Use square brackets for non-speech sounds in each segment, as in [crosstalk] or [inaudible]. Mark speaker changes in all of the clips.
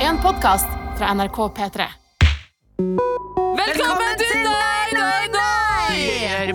Speaker 1: En podkast fra NRK P3. Velkommen til Nei, nei, nei! I denne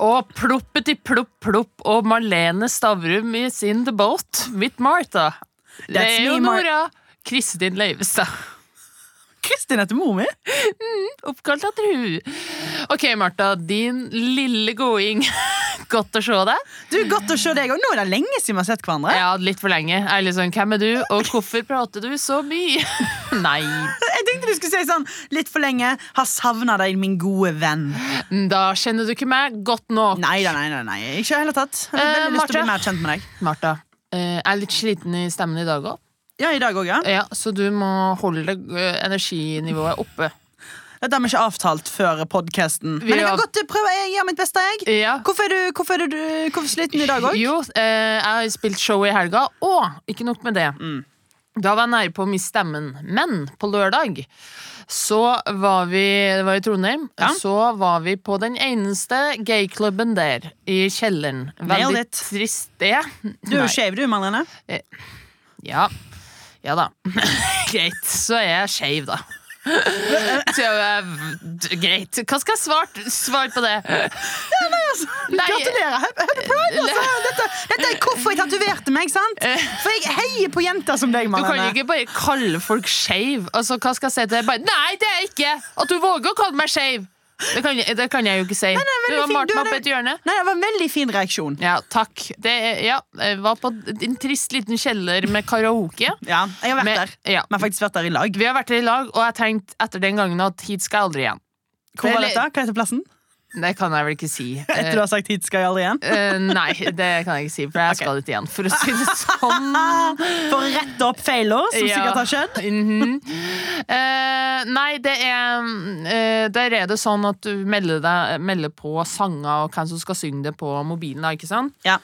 Speaker 1: Og ploppeti plopp plopp og Marlene Stavrum i sin The Boat with Martha.
Speaker 2: That's me, Mar-
Speaker 1: Leonora Kristin Leivestad.
Speaker 2: Kristin heter mor mi.
Speaker 1: [laughs] Oppkalt etter hun. Ok, Martha, din lille goding. [laughs] Godt å se deg.
Speaker 2: Du, Godt å se deg òg. Nå er det lenge siden vi har sett hverandre.
Speaker 1: Ja, litt for lenge. Jeg er litt sånn, Hvem er du, og hvorfor prater du så mye? [laughs] Nei,
Speaker 2: Jeg tenkte du skulle si sånn litt for lenge. Har savna deg, min gode venn.
Speaker 1: da kjenner du ikke meg godt nok.
Speaker 2: Nei da, nei, nei, nei. Ikke i det hele tatt. Jeg har
Speaker 1: Eh,
Speaker 2: veldig lyst til å
Speaker 1: Marte.
Speaker 2: bli mer kjent med deg.
Speaker 1: Martha, eh, jeg er litt sliten i stemmen i dag òg.
Speaker 2: Ja, i dag også, ja.
Speaker 1: Ja, så du må holde eh, energinivået oppe.
Speaker 2: Dette har vi ikke avtalt før podkasten.
Speaker 1: Vi
Speaker 2: Men jeg
Speaker 1: har-
Speaker 2: kan godt prøve. Jeg gjør mitt beste, jeg.
Speaker 1: Ja.
Speaker 2: Hvorfor er du, hvorfor er du, hvorfor er du sliten i dag òg?
Speaker 1: Jo, eh, jeg har spilt show i helga, og ikke nok med det.
Speaker 2: Mm.
Speaker 1: Da var jeg nære på å miste stemmen. Men på lørdag så var vi Det var i Trondheim.
Speaker 2: Ja.
Speaker 1: Så var vi på den eneste gayklubben der, i kjelleren.
Speaker 2: Nailed
Speaker 1: Veldig
Speaker 2: it.
Speaker 1: trist det.
Speaker 2: Du er
Speaker 1: Nei.
Speaker 2: jo skeiv, du, Marlene.
Speaker 1: Ja. ja da. [laughs] Greit. Så er jeg skeiv, da. [laughs] Så jeg, d- greit. Hva skal jeg svare svart på det?
Speaker 2: altså,
Speaker 1: Nei,
Speaker 2: Gratulerer! Happy happy pride, altså! Dette, dette er hvorfor jeg tatoverte meg, sant? For jeg heier på jenter som
Speaker 1: Eh.
Speaker 2: deg,
Speaker 1: Du kan jo
Speaker 2: Marlene.
Speaker 1: ikke bare kalle folk skeiv. Altså, hva skal jeg si til det? Bare, Nei, det er jeg ikke! At du våger å kalle meg skeiv! Det kan, jeg- det kan jeg jo ikke si.
Speaker 2: nei, veldig
Speaker 1: du har
Speaker 2: fint.
Speaker 1: malt
Speaker 2: Du
Speaker 1: meg opp
Speaker 2: hadde-
Speaker 1: et hjørne.
Speaker 2: Nei, det var en veldig fin reaksjon.
Speaker 1: Ja, takk. Det, er- ja, jeg var på en trist liten kjeller med karaoke.
Speaker 2: Ja, jeg har vært
Speaker 1: Med-
Speaker 2: der.
Speaker 1: ja.
Speaker 2: Vi har faktisk vært der i lag.
Speaker 1: Vi har vært der i lag, og jeg tenkte etter den gangen at hit skal jeg aldri igjen.
Speaker 2: Hvor var
Speaker 1: Eller-
Speaker 2: dette? Hva heter plassen?
Speaker 1: Det kan jeg vel ikke
Speaker 2: [laughs]
Speaker 1: si.
Speaker 2: Etter du har sagt 'hit skal jeg aldri igjen'?
Speaker 1: Eh, eh, nei, det kan jeg ikke si, for
Speaker 2: [laughs]
Speaker 1: jeg skal dit igjen, for å si det sånn.
Speaker 2: For å rette opp feiler som
Speaker 1: Ja.
Speaker 2: sikkert har skjedd?
Speaker 1: Mhm. Eh, nei, det er eh, Der er det sånn at du melder, deg, melder på sanger og hvem som skal synge det på mobilen. da, ikke sant?
Speaker 2: Ja.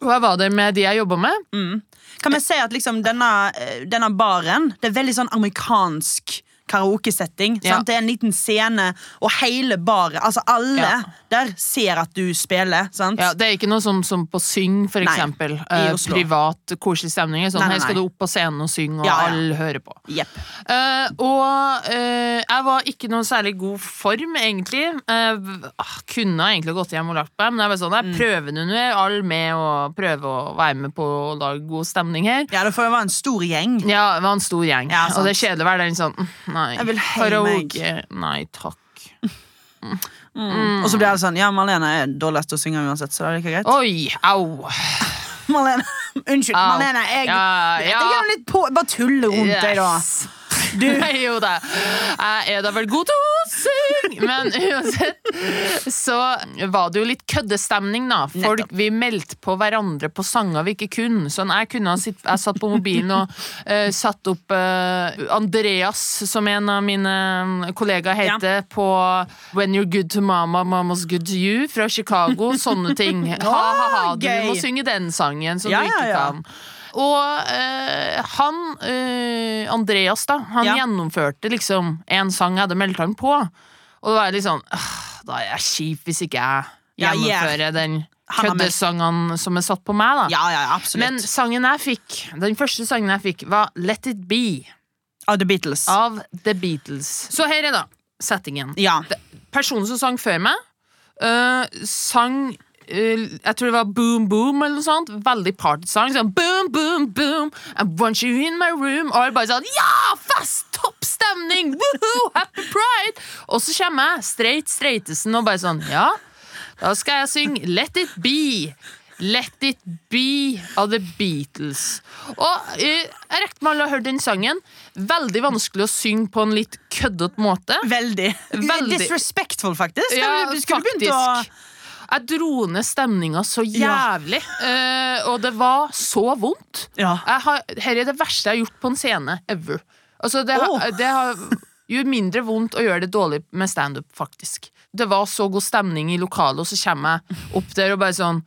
Speaker 1: Og jeg var der med de jeg jobba med.
Speaker 2: Mm. Kan vi si at liksom denne, eh, denne baren Det er veldig sånn amerikansk karaokesetting.
Speaker 1: Ja.
Speaker 2: sant? Det er en liten scene, og hele baren, altså alle
Speaker 1: Ja.
Speaker 2: der, ser at du spiller. sant?
Speaker 1: Ja, det er ikke noe som, som på syng, for
Speaker 2: Nei,
Speaker 1: eksempel.
Speaker 2: i
Speaker 1: Eh,
Speaker 2: Oslo.
Speaker 1: privat, koselig stemning. Sånn,
Speaker 2: Nei, nei,
Speaker 1: Her skal
Speaker 2: nei.
Speaker 1: du opp på scenen og synge, og
Speaker 2: Ja, ja.
Speaker 1: alle hører på.
Speaker 2: Jepp.
Speaker 1: Eh, og eh, jeg var ikke noen særlig god form, egentlig. Eh, v- ah, kunne ha egentlig gått hjem og lagt meg, men jeg var sånn,
Speaker 2: Mm.
Speaker 1: jeg prøver nå. Nå er alle med og prøver å være med på å lage god stemning her.
Speaker 2: Ja, det får jo være en stor gjeng.
Speaker 1: Ja, det var en stor gjeng,
Speaker 2: Ja, sant.
Speaker 1: og det er kjedelig å være den sånn mm, Nei.
Speaker 2: Jeg vil heie
Speaker 1: Karaoke. Nei takk. Mm.
Speaker 2: Og så blir det sånn Ja, Marlene er dårligst til å synge uansett, så det er ikke greit.
Speaker 1: Oi, au.
Speaker 2: Marlene, [laughs] Unnskyld,
Speaker 1: Au.
Speaker 2: Marlene. Jeg,
Speaker 1: Ja,
Speaker 2: jeg,
Speaker 1: ja.
Speaker 2: er litt på Bare tuller rundt deg, da.
Speaker 1: Yes. [laughs] Nei, jo da. Jeg er da vel god til å synge, men uansett så var det jo litt køddestemning, da. Folk, vi meldte på hverandre på sanger vi ikke kunne. Sånn, jeg kunne ha sitt, jeg satt på mobilen og eh, satt opp eh, Andreas, som en av mine mm, kollegaer heter, på When You're Good to Mama, Mama's Good to You fra Chicago. Sånne
Speaker 2: [laughs]
Speaker 1: ting. Ha, ha, ha. Du
Speaker 2: gøy.
Speaker 1: må synge den sangen som
Speaker 2: Ja,
Speaker 1: du ikke
Speaker 2: ja, ja.
Speaker 1: kan. Og eh, han, eh, Andreas da, han
Speaker 2: Ja.
Speaker 1: gjennomførte liksom en sang jeg hadde meldt han på. Og det var litt sånn, «Åh, da er jeg kjip hvis ikke jeg
Speaker 2: Ja,
Speaker 1: gjennomfører den
Speaker 2: Han har meldt-
Speaker 1: køddesangen som er satt på meg da.
Speaker 2: Ja, ja, absolutt.
Speaker 1: Men sangen jeg fikk, den første sangen jeg fikk var Let It Be
Speaker 2: Av The Beatles.
Speaker 1: av The Beatles. Så her er da settingen.
Speaker 2: Ja.
Speaker 1: Personen som sang før meg, øh, sang øh, jeg tror det var Boom Boom eller noe sånt. Veldig partysang. Sånn boom, boom, boom, I want you in my room. Og alle bare sånn Ja! Fast! Topp stemning! Woohoo! Happy pride! Og så kommer jeg, straight straightesen, og bare sånn Ja, da skal jeg synge Let It Be. Let It Be av The Beatles. Og eh, jeg rekte med alle å høre den sangen. Veldig vanskelig å synge på en litt køddete måte.
Speaker 2: Veldig.
Speaker 1: Veldig.
Speaker 2: Disrespectful, faktisk.
Speaker 1: Ja,
Speaker 2: Kan du- skulle du begynt å
Speaker 1: faktisk. Jeg dro ned stemninga så
Speaker 2: Ja.
Speaker 1: jævlig, eh, og det var så vondt.
Speaker 2: Ja.
Speaker 1: Jeg har, her er det verste jeg har gjort på en scene ever. Altså, det, har-
Speaker 2: Åh.
Speaker 1: det har gjør mindre vondt å gjøre det dårlig med standup, faktisk. Det var så god stemning i lokalet, og så kommer jeg opp der og bare sånn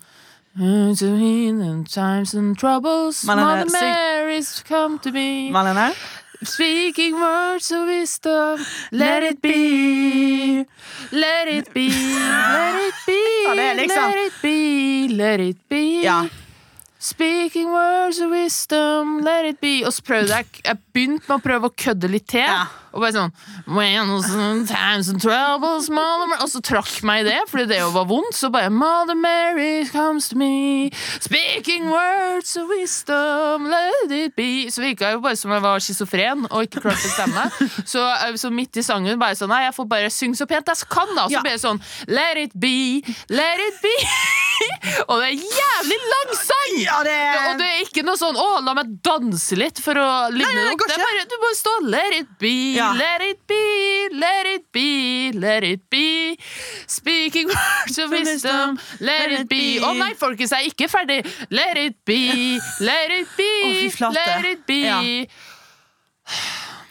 Speaker 1: "Times and troubles,
Speaker 2: Men han er
Speaker 1: Mother
Speaker 2: syk.
Speaker 1: Mary's come to me.
Speaker 2: Malene?
Speaker 1: Speaking words of wisdom, let it be, let it be, let it be,
Speaker 2: Ja, det er liksom-
Speaker 1: let it be, let it be.
Speaker 2: Ja.
Speaker 1: Speaking words of wisdom, let it be. Og så prøvde jeg Jeg begynte med å prøve å kødde litt til.
Speaker 2: Ja.
Speaker 1: Og bare sånn When times and troubles, Mother Mary Og så trakk meg i det, fordi det jo var vondt. Så bare Mother Mary comes to me. Speaking words of wisdom, let it be. Så virka jeg jo bare som jeg var schizofren og ikke klarte å
Speaker 2: [laughs]
Speaker 1: stemme. Så, eh, så midt i sangen bare sånn Nei, jeg får bare synge så pent jeg kan, da. Og
Speaker 2: Ja.
Speaker 1: så ble det sånn Let it be, let it be. [laughs] og det er en jævlig lang sang!
Speaker 2: Ja, det
Speaker 1: Ja, og det er ikke noe sånn 'Å, la meg danse litt for å ligne det
Speaker 2: nei, det
Speaker 1: opp'.
Speaker 2: går
Speaker 1: Det er bare, du bare står 'Let it be,
Speaker 2: Ja.
Speaker 1: let it be, let it be, let it be'. Speaking words
Speaker 2: [laughs]
Speaker 1: of wisdom, let it be. Å nei, folkens, jeg er ikke ferdig. Let it
Speaker 2: [laughs]
Speaker 1: be, let it be,
Speaker 2: Å, fy flate.
Speaker 1: let it be.
Speaker 2: Ja.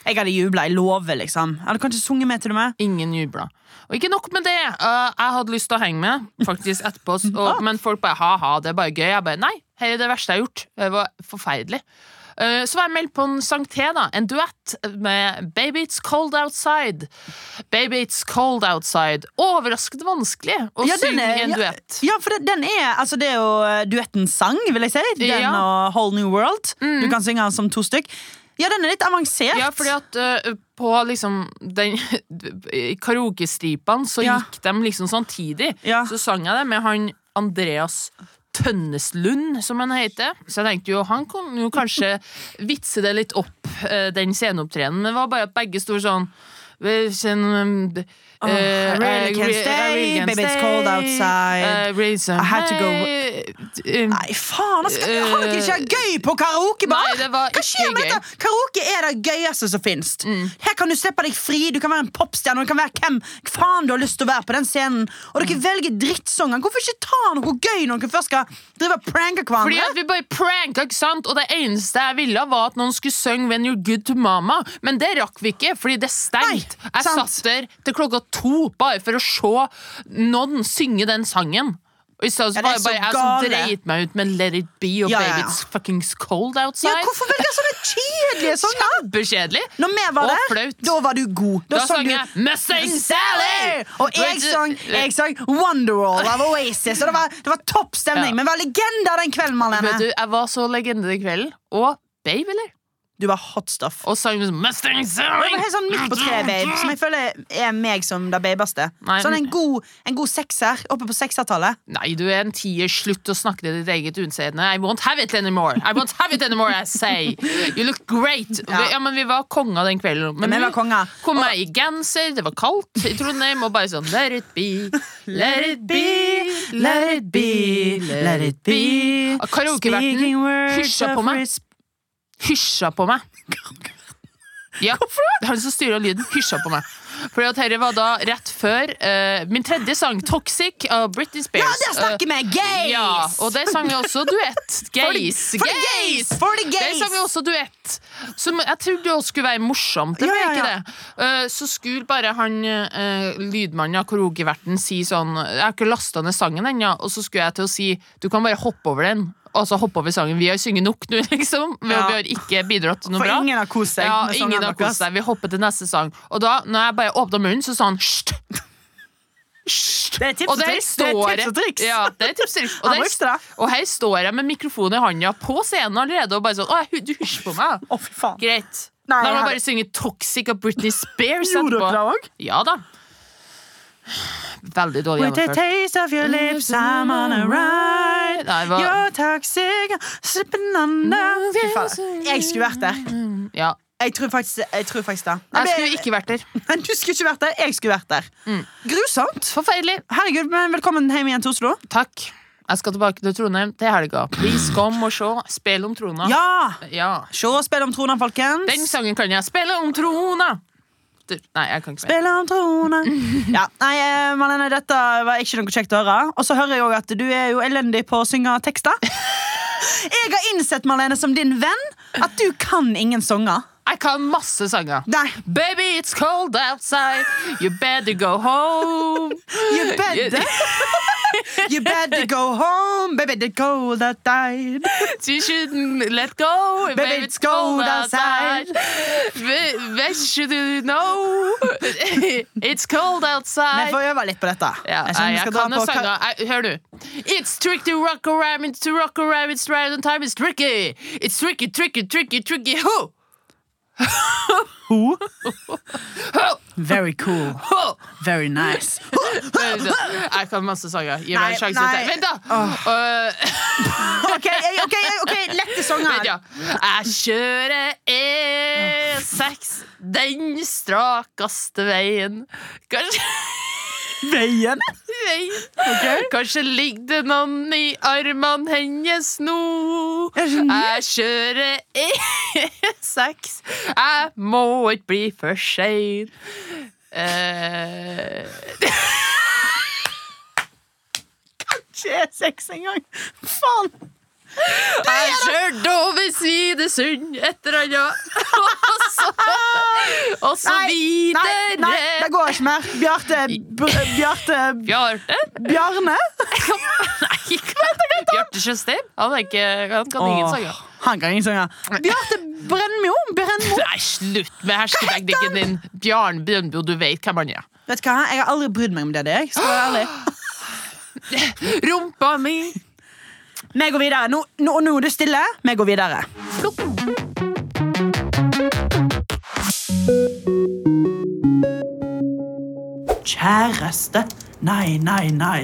Speaker 2: Jeg hadde jubla. Jeg lover, liksom. Jeg hadde kanskje sunget med til og med.
Speaker 1: Ingen jubla. Og ikke nok med det. eh, jeg hadde lyst til å henge med, faktisk, etterpå.
Speaker 2: [laughs]
Speaker 1: s- Og, men folk bare ha-ha, det er bare gøy. Jeg bare nei, her er det verste jeg har gjort. Det var forferdelig. Eh, så var jeg meldt på en sang til, da. En duett med Baby It's Cold Outside. Baby It's Cold Outside. Overraskende vanskelig å
Speaker 2: Ja, den
Speaker 1: synge
Speaker 2: er-
Speaker 1: i en
Speaker 2: ja,
Speaker 1: duett.
Speaker 2: Ja, for det, den er Altså, det er jo eh, duettens sang, vil jeg si. Den
Speaker 1: Ja. Mm.
Speaker 2: og Whole New World. Du kan synge den som to stykk. Ja, den er litt avansert.
Speaker 1: Ja, fordi at eh, på liksom den [laughs] i karaokestripene så
Speaker 2: Ja.
Speaker 1: gikk de liksom samtidig.
Speaker 2: Ja.
Speaker 1: Så sang jeg det med han Andreas Tønneslund, som han heter. Så jeg tenkte jo, han kunne jo
Speaker 2: [laughs]
Speaker 1: kanskje vitse det litt opp, eh, den sceneopptredenen. Men det var bare at begge sto sånn eh, sånn, eh,
Speaker 2: I really
Speaker 1: I
Speaker 2: can't
Speaker 1: re- I
Speaker 2: stay,
Speaker 1: can't
Speaker 2: baby, it's cold outside.
Speaker 1: Eh, reason-
Speaker 2: I had to go-
Speaker 1: Eh,
Speaker 2: Nei, faen! Altså, har dere ikke gøy på karaokebar?
Speaker 1: Nei, det var
Speaker 2: Hva skjer
Speaker 1: ikke Mm.
Speaker 2: med dette? Karaoke er det gøyeste som finnes. Her kan du slippe deg fri, du kan være en popstjerne, og du kan være hvem faen du har lyst til å være på den scenen. Og
Speaker 1: Mm.
Speaker 2: dere velger drittsanger. Hvorfor ikke ta noe gøy når dere først skal drive og pranke
Speaker 1: Fordi
Speaker 2: hverandre?
Speaker 1: at vi bare pranka, ikke sant? Og det eneste jeg ville, var at noen skulle synge When You're Good to Mama. Men det rakk vi ikke, fordi det er stengt.
Speaker 2: Nei,
Speaker 1: jeg
Speaker 2: sant.
Speaker 1: satt der til klokka to bare for å se noen synge den sangen. Og I stedet så
Speaker 2: Ja, det
Speaker 1: var
Speaker 2: er
Speaker 1: det
Speaker 2: så
Speaker 1: bare jeg som
Speaker 2: gale.
Speaker 1: dreit meg ut med Let It Be og
Speaker 2: Ja, ja,
Speaker 1: Baby
Speaker 2: ja.
Speaker 1: It's Fucking Cold
Speaker 2: Ja,
Speaker 1: Outside.
Speaker 2: hvorfor sånn, velger sånne
Speaker 1: [laughs]
Speaker 2: kjedelige sanger?
Speaker 1: Kjempekjedelig.
Speaker 2: Når vi var
Speaker 1: Og
Speaker 2: der,
Speaker 1: flaut.
Speaker 2: da var du god. Da,
Speaker 1: Da sang
Speaker 2: du
Speaker 1: jeg Mustang Sally!
Speaker 2: Og jeg
Speaker 1: Vet du-
Speaker 2: sang, jeg sang Wonderwall av Oasis. Og det var, det var topp stemning.
Speaker 1: Ja.
Speaker 2: Men vi var legender den
Speaker 1: Vet du,
Speaker 2: kvelden, Marlene.
Speaker 1: jeg var så legende den kvelden. Og Babe, eller?
Speaker 2: Du var hot stuff.
Speaker 1: Og sang sånn Mustang Sally!
Speaker 2: Det var helt sånn midt på treet, babe. Som jeg føler er meg som det babeste.
Speaker 1: Nei,
Speaker 2: Sånn en
Speaker 1: men-
Speaker 2: god, en god sekser oppe på seksertallet.
Speaker 1: Nei, du er en tier. Slutt å snakke til ditt eget utseende. I won't have it anymore. I won't have it anymore, I say. You look great. Ja,
Speaker 2: Ja.
Speaker 1: vi, ja men vi var konger den kvelden. Men
Speaker 2: Vi var
Speaker 1: nå
Speaker 2: konger.
Speaker 1: Kom jeg i genser, det var kaldt i Trondheim, og bare sånn Let it [laughs] be, let it be, let it be, let it be. Og Karaokeverten hysja på meg. Hysja på meg. Ja. Hvorfor det? er Han som styrer lyden, hysja på meg. Fordi at dette var da rett før eh, min tredje sang, 'Toxic', av Britney Spears.
Speaker 2: Ja, der snakker vi! Gays!
Speaker 1: Eh, Ja, og det sang vi også duett. Gays!
Speaker 2: [laughs] for the gays! For the
Speaker 1: Det
Speaker 2: gays!
Speaker 1: sang vi også duett. Som jeg trodde også skulle være morsomt. Det
Speaker 2: Ja,
Speaker 1: ble
Speaker 2: ja,
Speaker 1: ikke
Speaker 2: ja.
Speaker 1: det. Eh, så skulle bare han eh, lydmannen av karaokeverten si sånn Jeg har ikke lasta ned sangen ennå, og så skulle jeg til å si du kan bare hoppe over den. Altså hoppe over sangen. Vi har sunget nok nå, [laughs] liksom. Vi,
Speaker 2: Ja.
Speaker 1: vi har ikke bidratt til noe
Speaker 2: For
Speaker 1: bra.
Speaker 2: ingen har kost seg
Speaker 1: Ja,
Speaker 2: med sangen
Speaker 1: ingen har
Speaker 2: deres.
Speaker 1: kost seg. Vi hopper til neste sang. Og da, når jeg bare åpna munnen, så sa han Sst!
Speaker 2: Det er tips
Speaker 1: Og
Speaker 2: og
Speaker 1: der
Speaker 2: triks. Det
Speaker 1: står
Speaker 2: er
Speaker 1: jeg-
Speaker 2: tips og triks.
Speaker 1: Ja, det er tips og triks. Og
Speaker 2: Han
Speaker 1: der-
Speaker 2: var ekstra.
Speaker 1: Og her står jeg med mikrofonen i handa på scenen allerede og bare sånn Å, jeg- du hysjer på meg.
Speaker 2: Å, fy faen.
Speaker 1: Greit.
Speaker 2: Nei,
Speaker 1: da må jeg
Speaker 2: jeg-
Speaker 1: bare synge Toxic av Britney Spears
Speaker 2: Gjorde dere
Speaker 1: etterpå.
Speaker 2: det òg?
Speaker 1: Ja da. Veldig dårlig
Speaker 2: With a
Speaker 1: gjennomført.
Speaker 2: taste of your lips, I'm on a ride.
Speaker 1: Nei, hva-
Speaker 2: You're toxic, slipping under Fy faen. Jeg skulle vært der.
Speaker 1: Mm, Ja.
Speaker 2: Jeg tror faktisk, jeg tror faktisk
Speaker 1: Jeg
Speaker 2: det. Jeg ble-
Speaker 1: skulle ikke vært der.
Speaker 2: Men du skulle ikke vært der, jeg skulle vært der.
Speaker 1: Mm.
Speaker 2: Grusomt.
Speaker 1: Forferdelig.
Speaker 2: Herregud, men velkommen hjem igjen til Oslo.
Speaker 1: Takk. Jeg skal tilbake til Trondheim til helga. Please kom og se. Spill om trona.
Speaker 2: Ja!
Speaker 1: Ja.
Speaker 2: Se og spill om trona, folkens.
Speaker 1: Ah. Den sangen kan jeg. Spille om trona! Du- Nei, jeg kan ikke mer.
Speaker 2: Spill om trona.
Speaker 1: [laughs]
Speaker 2: ja, nei, eh, Malene, dette var ikke noe kjekt å høre. Og så hører jeg òg at du er jo elendig på å synge
Speaker 1: [laughs]
Speaker 2: tekster. jeg har innsett, Malene, som din venn, at du kan ingen sanger.
Speaker 1: Jeg kan masse sanger.
Speaker 2: Nei.
Speaker 1: Baby, it's cold outside. You better go home. [laughs]
Speaker 2: You [laughs] better, you better go home, baby, the cold outside.
Speaker 1: You shouldn't let go. Baby, it's cold outside. Wh- What should you know? [laughs] It's cold
Speaker 2: Vi
Speaker 1: outside.
Speaker 2: får øve litt på dette.
Speaker 1: Ja, nei,
Speaker 2: Jeg skjønner vi
Speaker 1: jeg
Speaker 2: skal
Speaker 1: kan
Speaker 2: dra
Speaker 1: jo
Speaker 2: på
Speaker 1: sanger. Jeg- Hør nå. It's tricky to rock around, it's to rock around, it's right on time, it's tricky. It's tricky, tricky, tricky, tricky. Ho!
Speaker 2: Ho.
Speaker 1: Ho!
Speaker 2: Very cool. [laughs]
Speaker 1: Ho!
Speaker 2: Very nice.
Speaker 1: Jeg kan masse sanger. Gi meg en
Speaker 2: Nei,
Speaker 1: sjanse
Speaker 2: nei.
Speaker 1: til. Vent, da! Øh,
Speaker 2: OK, jeg- ok, jeg- ok, lette
Speaker 1: Vent,
Speaker 2: sanger.
Speaker 1: ja. Jeg kjører E6 den strakeste veien. Kanskje,
Speaker 2: Veien.
Speaker 1: veien. Kanskje ligger det noen i armene hennes nå.
Speaker 2: Er det sånn?
Speaker 1: Jeg kjører E6. Jeg må ikke bli for sein. Eh,
Speaker 2: Ikke sex engang. Faen.
Speaker 1: jeg kjørte over Svidesund et eller annet, [laughs] og så, og så
Speaker 2: nei, nei, det
Speaker 1: videre.
Speaker 2: går ikke mer. Bjarte Br- eh, Bjarte
Speaker 1: Bjarte?
Speaker 2: Bjarne?
Speaker 1: Nei, Bjarte Tjøstheim? Han, er ikke, han kan ingen sanger.
Speaker 2: Åh, han kan ingen sanger. Bjarte Brennmo. Brennmo.
Speaker 1: Nei, slutt med hersketeknikken din! Bjarn Brøndbo, du vet hvem han er.
Speaker 2: Vet du hva, jeg har aldri brydd meg om det. det er jeg. Skal jeg være ærlig
Speaker 1: Rumpa mi!
Speaker 2: Vi går videre. Nå, nå, nå er det stille. Vi går videre. Kjæreste. Nei, nei, nei.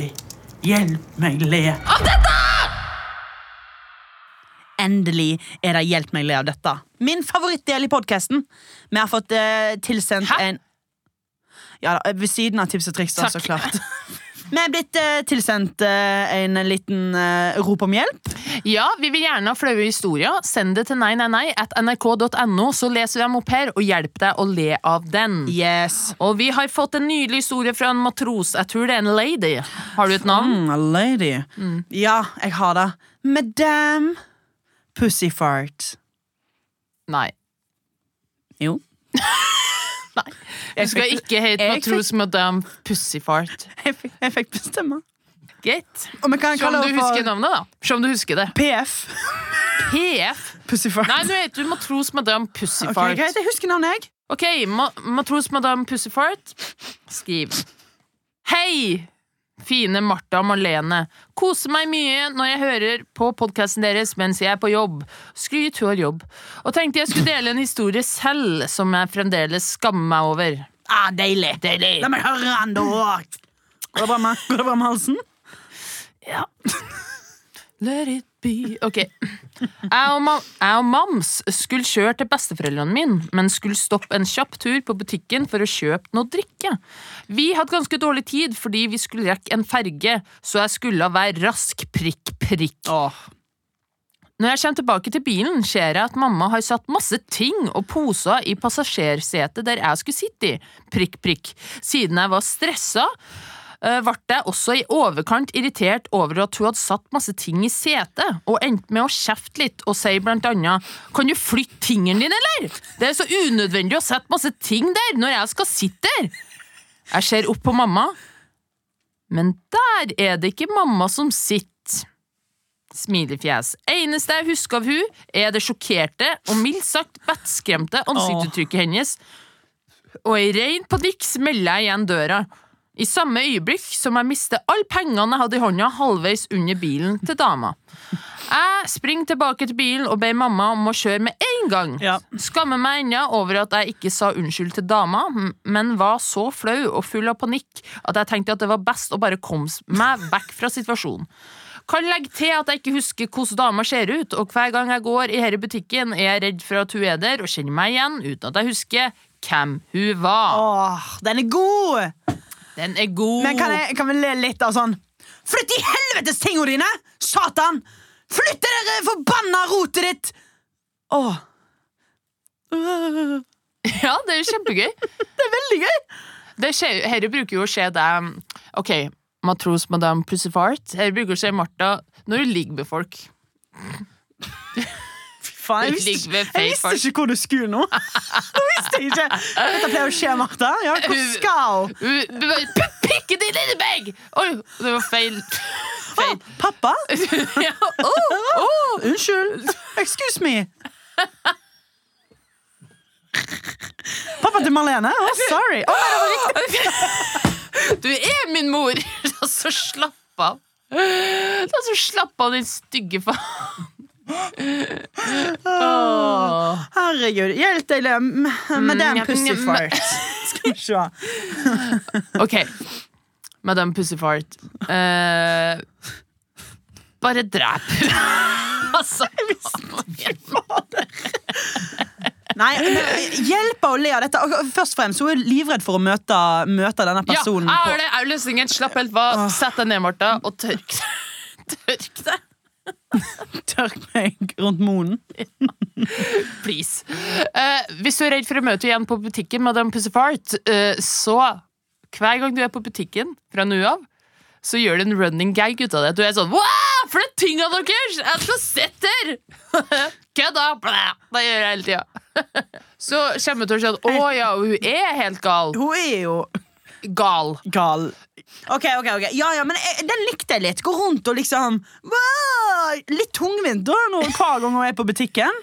Speaker 2: Hjelp meg le. Av dette! Endelig er det Hjelp meg le av dette. Min favorittdel i podkasten. Vi har fått eh, tilsendt
Speaker 1: Hæ?
Speaker 2: en Ja, da, ved siden av tips og triks, da,
Speaker 1: Takk.
Speaker 2: så klart. Vi er blitt eh, tilsendt eh, en liten eh, rop om hjelp.
Speaker 1: Ja, vi vil gjerne ha flaue historier. Send det til nei, nei, nei at nrk.no, så leser vi dem opp her og hjelper deg å le av den.
Speaker 2: Yes.
Speaker 1: Og vi har fått en nydelig historie fra en matros. Jeg tror det er en lady. Har du et navn?
Speaker 2: Mm, a lady. Ja, jeg har det. Madame Pussyfart.
Speaker 1: Nei.
Speaker 2: Jo.
Speaker 1: Du skal ikke hete
Speaker 2: Jeg-
Speaker 1: matros madame Pussyfart.
Speaker 2: Jeg fikk, jeg fikk bestemme.
Speaker 1: Greit.
Speaker 2: Og vi kan
Speaker 1: Se om
Speaker 2: kalle
Speaker 1: du
Speaker 2: henne
Speaker 1: husker
Speaker 2: for
Speaker 1: navnet, da. Se om du husker det.
Speaker 2: [laughs] PF.
Speaker 1: PF.
Speaker 2: Pussyfart.
Speaker 1: Nei, nå heter du matros madame
Speaker 2: Ok,
Speaker 1: Pussyfart.
Speaker 2: greit, jeg husker navnet, jeg.
Speaker 1: Ok, ma matros madame Pussyfart Skriv Hei, fine Martha og Marlene Koser meg mye når jeg hører på podcasten deres Mens jeg er på jobb Skryt hun har jobb Og tenkte jeg skulle dele en historie selv Som jeg fremdeles skammer meg over
Speaker 2: Ah, deilig.
Speaker 1: Deilig
Speaker 2: La meg høre han, da. Går det bra med, går det bra med halsen?
Speaker 1: Ja. [laughs] Let it be Ok. Jeg og, mam jeg og mams skulle kjøre til besteforeldrene mine, men skulle stoppe en kjapp tur på butikken for å kjøpe noe drikke. Vi hadde ganske dårlig tid fordi vi skulle rekke en ferge, så jeg skulle være rask prikk, prikk. Når jeg kommer tilbake til bilen, ser jeg at mamma har satt masse ting og poser i passasjersetet der jeg skulle sitte i. Prikk, prikk. Siden jeg var stressa, eh, ble jeg også i overkant irritert over at hun hadde satt masse ting i setet, og endte med å kjefte litt og si blant annet Kan du flytte tingene dine, eller? Det er så unødvendig å sette masse ting der når jeg skal sitte der. Jeg ser opp på mamma, men der er det ikke mamma som sitter. Smilefjes. Eneste jeg husker av hun, er det sjokkerte og mildt sagt vettskremte ansiktsuttrykket hennes. Og i ren panikk smeller jeg igjen døra. I samme øyeblikk som jeg mister alle pengene jeg hadde i hånda halvveis under bilen til dama. Jeg springer tilbake til bilen og ber mamma om å kjøre med en gang.
Speaker 2: Ja.
Speaker 1: Skammer meg ennå over at jeg ikke sa unnskyld til dama, m- men var så flau og full av panikk at jeg tenkte at det var best å bare komme s- meg vekk fra situasjonen. Kan legge til at jeg ikke husker hvordan dama ser ut, og hver gang jeg går i denne butikken, er jeg redd for at hun er der og kjenner meg igjen uten at jeg husker hvem hun var.
Speaker 2: Åh, den er god!
Speaker 1: Den er god.
Speaker 2: Men kan, jeg, kan vi le litt av sånn Flytt i helvetes tingene dine! Satan! Flytt det der eh, forbanna rotet ditt! Åh. Det
Speaker 1: [laughs] Ja, det er kjempegøy.
Speaker 2: er veldig gøy!
Speaker 1: Det skjer, her bruker jo å skje deg Ok, matros madame Pussyfart. Her bruker å skje Martha når du ligger med folk.
Speaker 2: faen. Jeg
Speaker 1: Ligg
Speaker 2: visste,
Speaker 1: ved
Speaker 2: ikke- jeg
Speaker 1: fake
Speaker 2: visste
Speaker 1: folk.
Speaker 2: ikke hvor du skulle [laughs] nå. Jeg visste ikke. Dette pleier å skje, Martha. Ja, hvor skal hun?
Speaker 1: Uh, b- b- p- Pikke din lille bag! Oi, det var feil.
Speaker 2: Ah,
Speaker 1: feil.
Speaker 2: pappa?
Speaker 1: [laughs] ja, oh, oh.
Speaker 2: Unnskyld. Excuse me. Pappa til Marlene? Oh, sorry. Å, nei, det var riktig.
Speaker 1: Du er min [laughs] mor! Da så slapp av. Da så slapp av, din stygge faen. Åh. Mm,
Speaker 2: Herregud. Hjelp deg, Lem. Madame
Speaker 1: ja, mm.
Speaker 2: Pussyfart. [laughs] Skal vi se.
Speaker 1: Ok, Madame Pussyfart. Eh, bare drep. [laughs] altså,
Speaker 2: Nei, men hjelp henne å le av dette. Og Først og fremst, Hun er livredd for å møte, møte denne
Speaker 1: ja,
Speaker 2: personen.
Speaker 1: er det er løsningen. Slapp helt av. Sett deg ned, Martha, og tørk deg. [laughs] Tørk deg.
Speaker 2: på Tørk meg rundt munnen.
Speaker 1: Please. Eh, hvis du er redd for å møte henne igjen på butikken, Madame Pussyfart, eh, så hver gang du er på butikken fra nå av, så gjør du en running gag ut av det. Du er sånn Wow, for det er tinga deres! Jeg skal sitte her! [laughs] Kødda! Blæ! Det gjør jeg hele tida. [laughs] så kommer hun til å si at å ja, hun er helt gal.
Speaker 2: Hun er jo
Speaker 1: Gal.
Speaker 2: gal. Ok, ok, ok Ja, ja, men jeg, Den likte jeg litt. Gå rundt og liksom wow, Litt tungvint da nå hver gang hun er på butikken.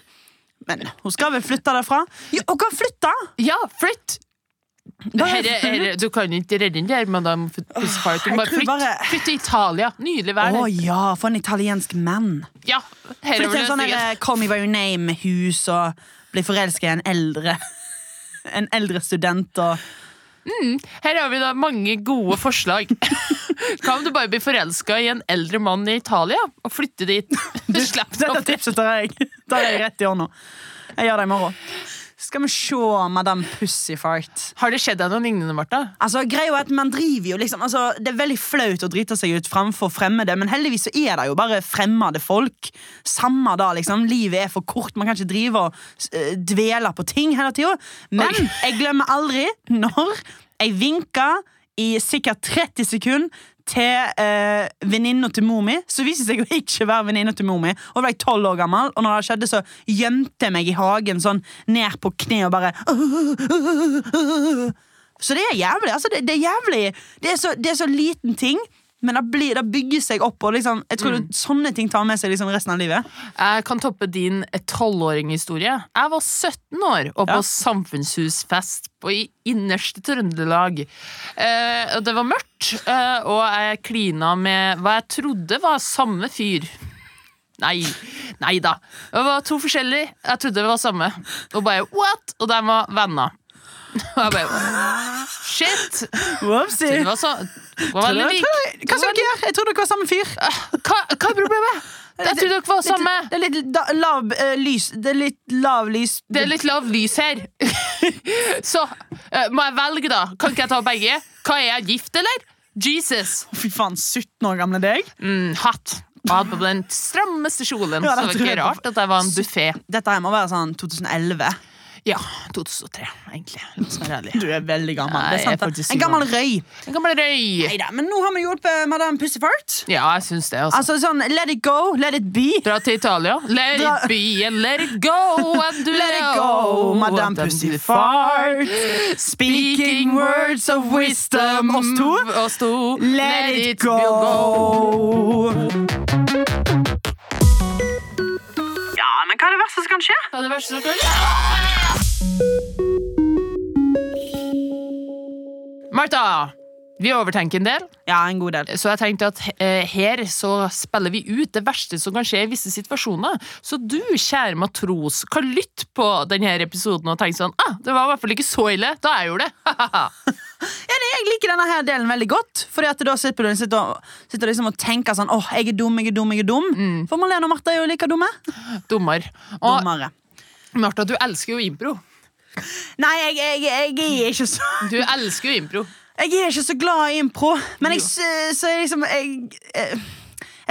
Speaker 2: Men hun skal vel flytte derfra? Ja, hun kan flytte!
Speaker 1: Ja, flytt!
Speaker 2: Da er
Speaker 1: Herre, herre, du kan ikke redde den der, Madame Pussyfart. Du må
Speaker 2: Jeg tror
Speaker 1: Flytt,
Speaker 2: bare-
Speaker 1: flytt til Italia. Nydelig
Speaker 2: Å
Speaker 1: vær. der.
Speaker 2: ja, for en italiensk mann.
Speaker 1: Ja, her
Speaker 2: Flytte
Speaker 1: over
Speaker 2: til en sånn
Speaker 1: løsningen.
Speaker 2: her, eh, Call Me By Your Name-hus og bli forelska i en eldre [laughs] En eldre student og
Speaker 1: Her har vi da mange gode [laughs] forslag. Hva om du bare blir forelska i en eldre mann i Italia og flytter dit? Du slipper
Speaker 2: Dette
Speaker 1: opp
Speaker 2: tipset tar jeg, tar jeg rett i hånda. Jeg gjør det i morgen. Skal vi se Madame Pussyfart.
Speaker 1: Har det skjedd deg noe lignende, Martha?
Speaker 2: Altså, greia er at man driver jo liksom altså, Det er veldig flaut å drite seg ut framfor fremmede, men heldigvis så er det jo bare fremmede folk. Samme da, liksom. Livet er for kort. Man kan ikke drive og eh, dvele på ting hele tida. Men
Speaker 1: Oi.
Speaker 2: jeg glemmer aldri når jeg vinka i sikkert 30 sekunder til eh, venninna til mor mi, så viste det seg å ikke være venninna til mor mi. Og da var jeg 12 år gammel, og når det skjedde, så gjemte jeg meg i hagen sånn ned på kne og bare så det er jævlig. Altså, det, det er jævlig. Det er, så, det er så liten ting, men det, blir, det bygger seg opp. Og liksom, jeg tror det, sånne ting tar med seg liksom resten av livet.
Speaker 1: Jeg kan toppe din tolvåringhistorie. Jeg var 17 år og på
Speaker 2: Ja.
Speaker 1: samfunnshusfest på i innerste Trøndelag. Eh, og det var mørkt, eh, og jeg klina med hva jeg trodde var samme fyr. Nei, nei da. Det var to forskjellige. Jeg trodde det var samme. Og bare what? Og de var venner. Og jeg bare Shit!
Speaker 2: Whoopsie.
Speaker 1: Det var så det var
Speaker 2: Tror
Speaker 1: veldig
Speaker 2: du-
Speaker 1: lik.
Speaker 2: tror du- Hva som dere gjør? Jeg tror dere var samme fyr.
Speaker 1: Hva, hva er problemet? Jeg trodde dere var samme.
Speaker 2: Litt, det er litt da, lav eh, lys. Det er litt lav lys.
Speaker 1: Det er litt lav lys her. [laughs] Så eh, må jeg velge, da. Kan ikke jeg ta begge? Hva er jeg, gift, eller? Jesus.
Speaker 2: Fy faen, 17 år gamle deg.
Speaker 1: Mm, hatt. Og hadde på den strammeste kjolen.
Speaker 2: Ja,
Speaker 1: så det
Speaker 2: det
Speaker 1: var
Speaker 2: tror jeg
Speaker 1: ikke
Speaker 2: på.
Speaker 1: rart at jeg var en buffé.
Speaker 2: Dette her må være sånn 2011.
Speaker 1: Ja, 2003, egentlig. La oss være ærlige.
Speaker 2: Du er veldig gammel.
Speaker 1: Nei,
Speaker 2: det er sant,
Speaker 1: jeg er
Speaker 2: da.
Speaker 1: faktisk
Speaker 2: en gammel røy.
Speaker 1: En gammel røy.
Speaker 2: Neida, men nå har vi hjulpet madame Pussyfart.
Speaker 1: Ja, jeg syns det, altså.
Speaker 2: Altså sånn let it go, let it be.
Speaker 1: Dra til Italia. Let
Speaker 2: Dra-
Speaker 1: it be and let it go.
Speaker 2: [laughs]
Speaker 1: And do
Speaker 2: Let it go, Madame Pussyfart. Speaking words of wisdom. Oss to.
Speaker 1: Oss to.
Speaker 2: Let it go. Ja, men hva er det verste som kan skje?
Speaker 1: Ja, det verste som kan Martha, vi overtenker en del,
Speaker 2: Ja, en god del.
Speaker 1: så jeg tenkte at eh, her så spiller vi ut det verste som kan skje i visse situasjoner. Så du, kjære matros, kan lytte på denne her episoden og tenke sånn ah, det var i hvert fall ikke så ille da jeg gjorde det. [laughs]
Speaker 2: Ja, nei, jeg liker denne her delen veldig godt. Fordi at da sitter du sitter og, sitter liksom og tenker sånn åh, jeg er dum, jeg er dum, jeg er dum. For Marlene og Martha er jo like dumme.
Speaker 1: Dommer. Og
Speaker 2: Dummere.
Speaker 1: Martha, du elsker jo impro.
Speaker 2: Nei, jeg, jeg, jeg er ikke så
Speaker 1: Du elsker jo impro.
Speaker 2: Jeg er ikke så glad i impro, men jeg,
Speaker 1: Jo.
Speaker 2: sy- så jeg, liksom, jeg, eh,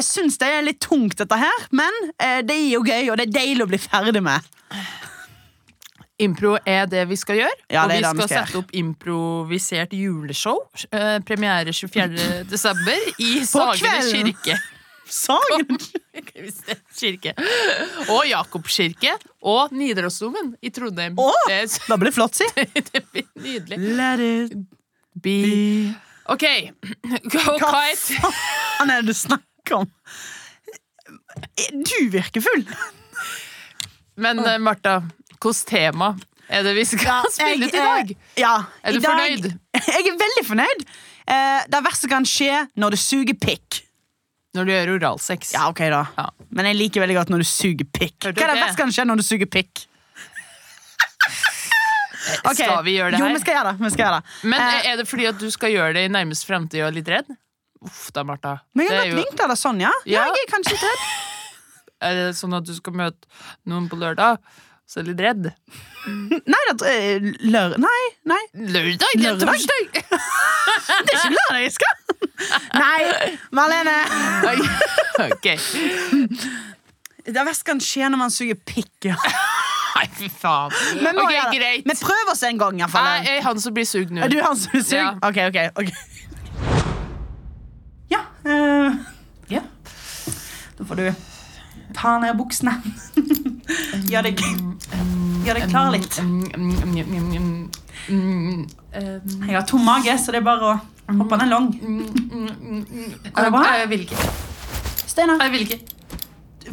Speaker 2: jeg syns det er litt tungt, dette her. Men eh, det er jo gøy, og det er deilig å bli ferdig med.
Speaker 1: Impro er det vi skal gjøre.
Speaker 2: Ja,
Speaker 1: og vi
Speaker 2: det er det
Speaker 1: skal,
Speaker 2: vi skal
Speaker 1: sette opp improvisert
Speaker 2: [laughs]
Speaker 1: juleshow. Eh, premiere 24. desember i Sagene
Speaker 2: kvelden.
Speaker 1: kirke. [laughs]
Speaker 2: Sangen!
Speaker 1: Kirke. Og Jakobskirke. Og Nidarosdomen i Trondheim.
Speaker 2: Å!
Speaker 1: Det, er så- [laughs]
Speaker 2: Da blir det flott, si.
Speaker 1: det blir nydelig.
Speaker 2: Let it
Speaker 1: Bi.
Speaker 2: be
Speaker 1: OK. [clears throat] Og
Speaker 2: Hva
Speaker 1: hva het
Speaker 2: faen er det du snakker om? Du virker full.
Speaker 1: Men eh, Martha, hvilket tema er det vi skal [laughs] spille til i dag?
Speaker 2: Jeg, eh, ja,
Speaker 1: Er
Speaker 2: i
Speaker 1: du
Speaker 2: dag-
Speaker 1: fornøyd?
Speaker 2: Jeg er veldig fornøyd. Eh, det verste kan skje når du suger pikk.
Speaker 1: Når du gjør oralsex.
Speaker 2: Ja, ok da.
Speaker 1: Ja.
Speaker 2: Men jeg liker veldig godt når du suger pikk. Hva
Speaker 1: Hørte
Speaker 2: er det
Speaker 1: det?
Speaker 2: verste kan skje når du suger pikk? Ok.
Speaker 1: [laughs] Skal vi gjøre det
Speaker 2: Jo,
Speaker 1: her?
Speaker 2: vi skal gjøre det. Vi skal gjøre det.
Speaker 1: Men
Speaker 2: Eh,
Speaker 1: er det fordi at du skal gjøre det i nærmest fremtid og er litt redd? Uff da, Martha.
Speaker 2: men jeg
Speaker 1: det
Speaker 2: har
Speaker 1: er,
Speaker 2: godt vinkt av det sånn, ja. ja.
Speaker 1: Ja.
Speaker 2: Jeg er kanskje litt redd.
Speaker 1: er det sånn at du skal møte noen på lørdag, så er du litt redd?
Speaker 2: Nei, det er eh, lør... Nei, nei.
Speaker 1: Lørdag? Det er
Speaker 2: Lørdag?
Speaker 1: torsdag!
Speaker 2: Det er ikke lørdag jeg skal. [laughs] Nei, Marlene.
Speaker 1: Oi, [laughs] ok.
Speaker 2: Det verste kan skje når man suger pikk. Ja.
Speaker 1: Nei, fy faen.
Speaker 2: Men nå
Speaker 1: ok,
Speaker 2: gjør det.
Speaker 1: greit.
Speaker 2: Men prøv oss en gang, iallfall.
Speaker 1: Nei, jeg er han som blir sugd nå.
Speaker 2: Er du han som suger?
Speaker 1: Ja.
Speaker 2: Ok, ok, ok. Ja. eh,
Speaker 1: Ja.
Speaker 2: Da får du ta ned buksene. [laughs] Gjør deg, gjør deg klar litt.
Speaker 1: Mm, mm, mm, mm, mm, mm, mm,
Speaker 2: Jeg har tom mage, så det er bare å hoppe den lang. Går det bra?
Speaker 1: Nei, Jeg vil ikke.
Speaker 2: Steinar,
Speaker 1: Jeg vil ikke.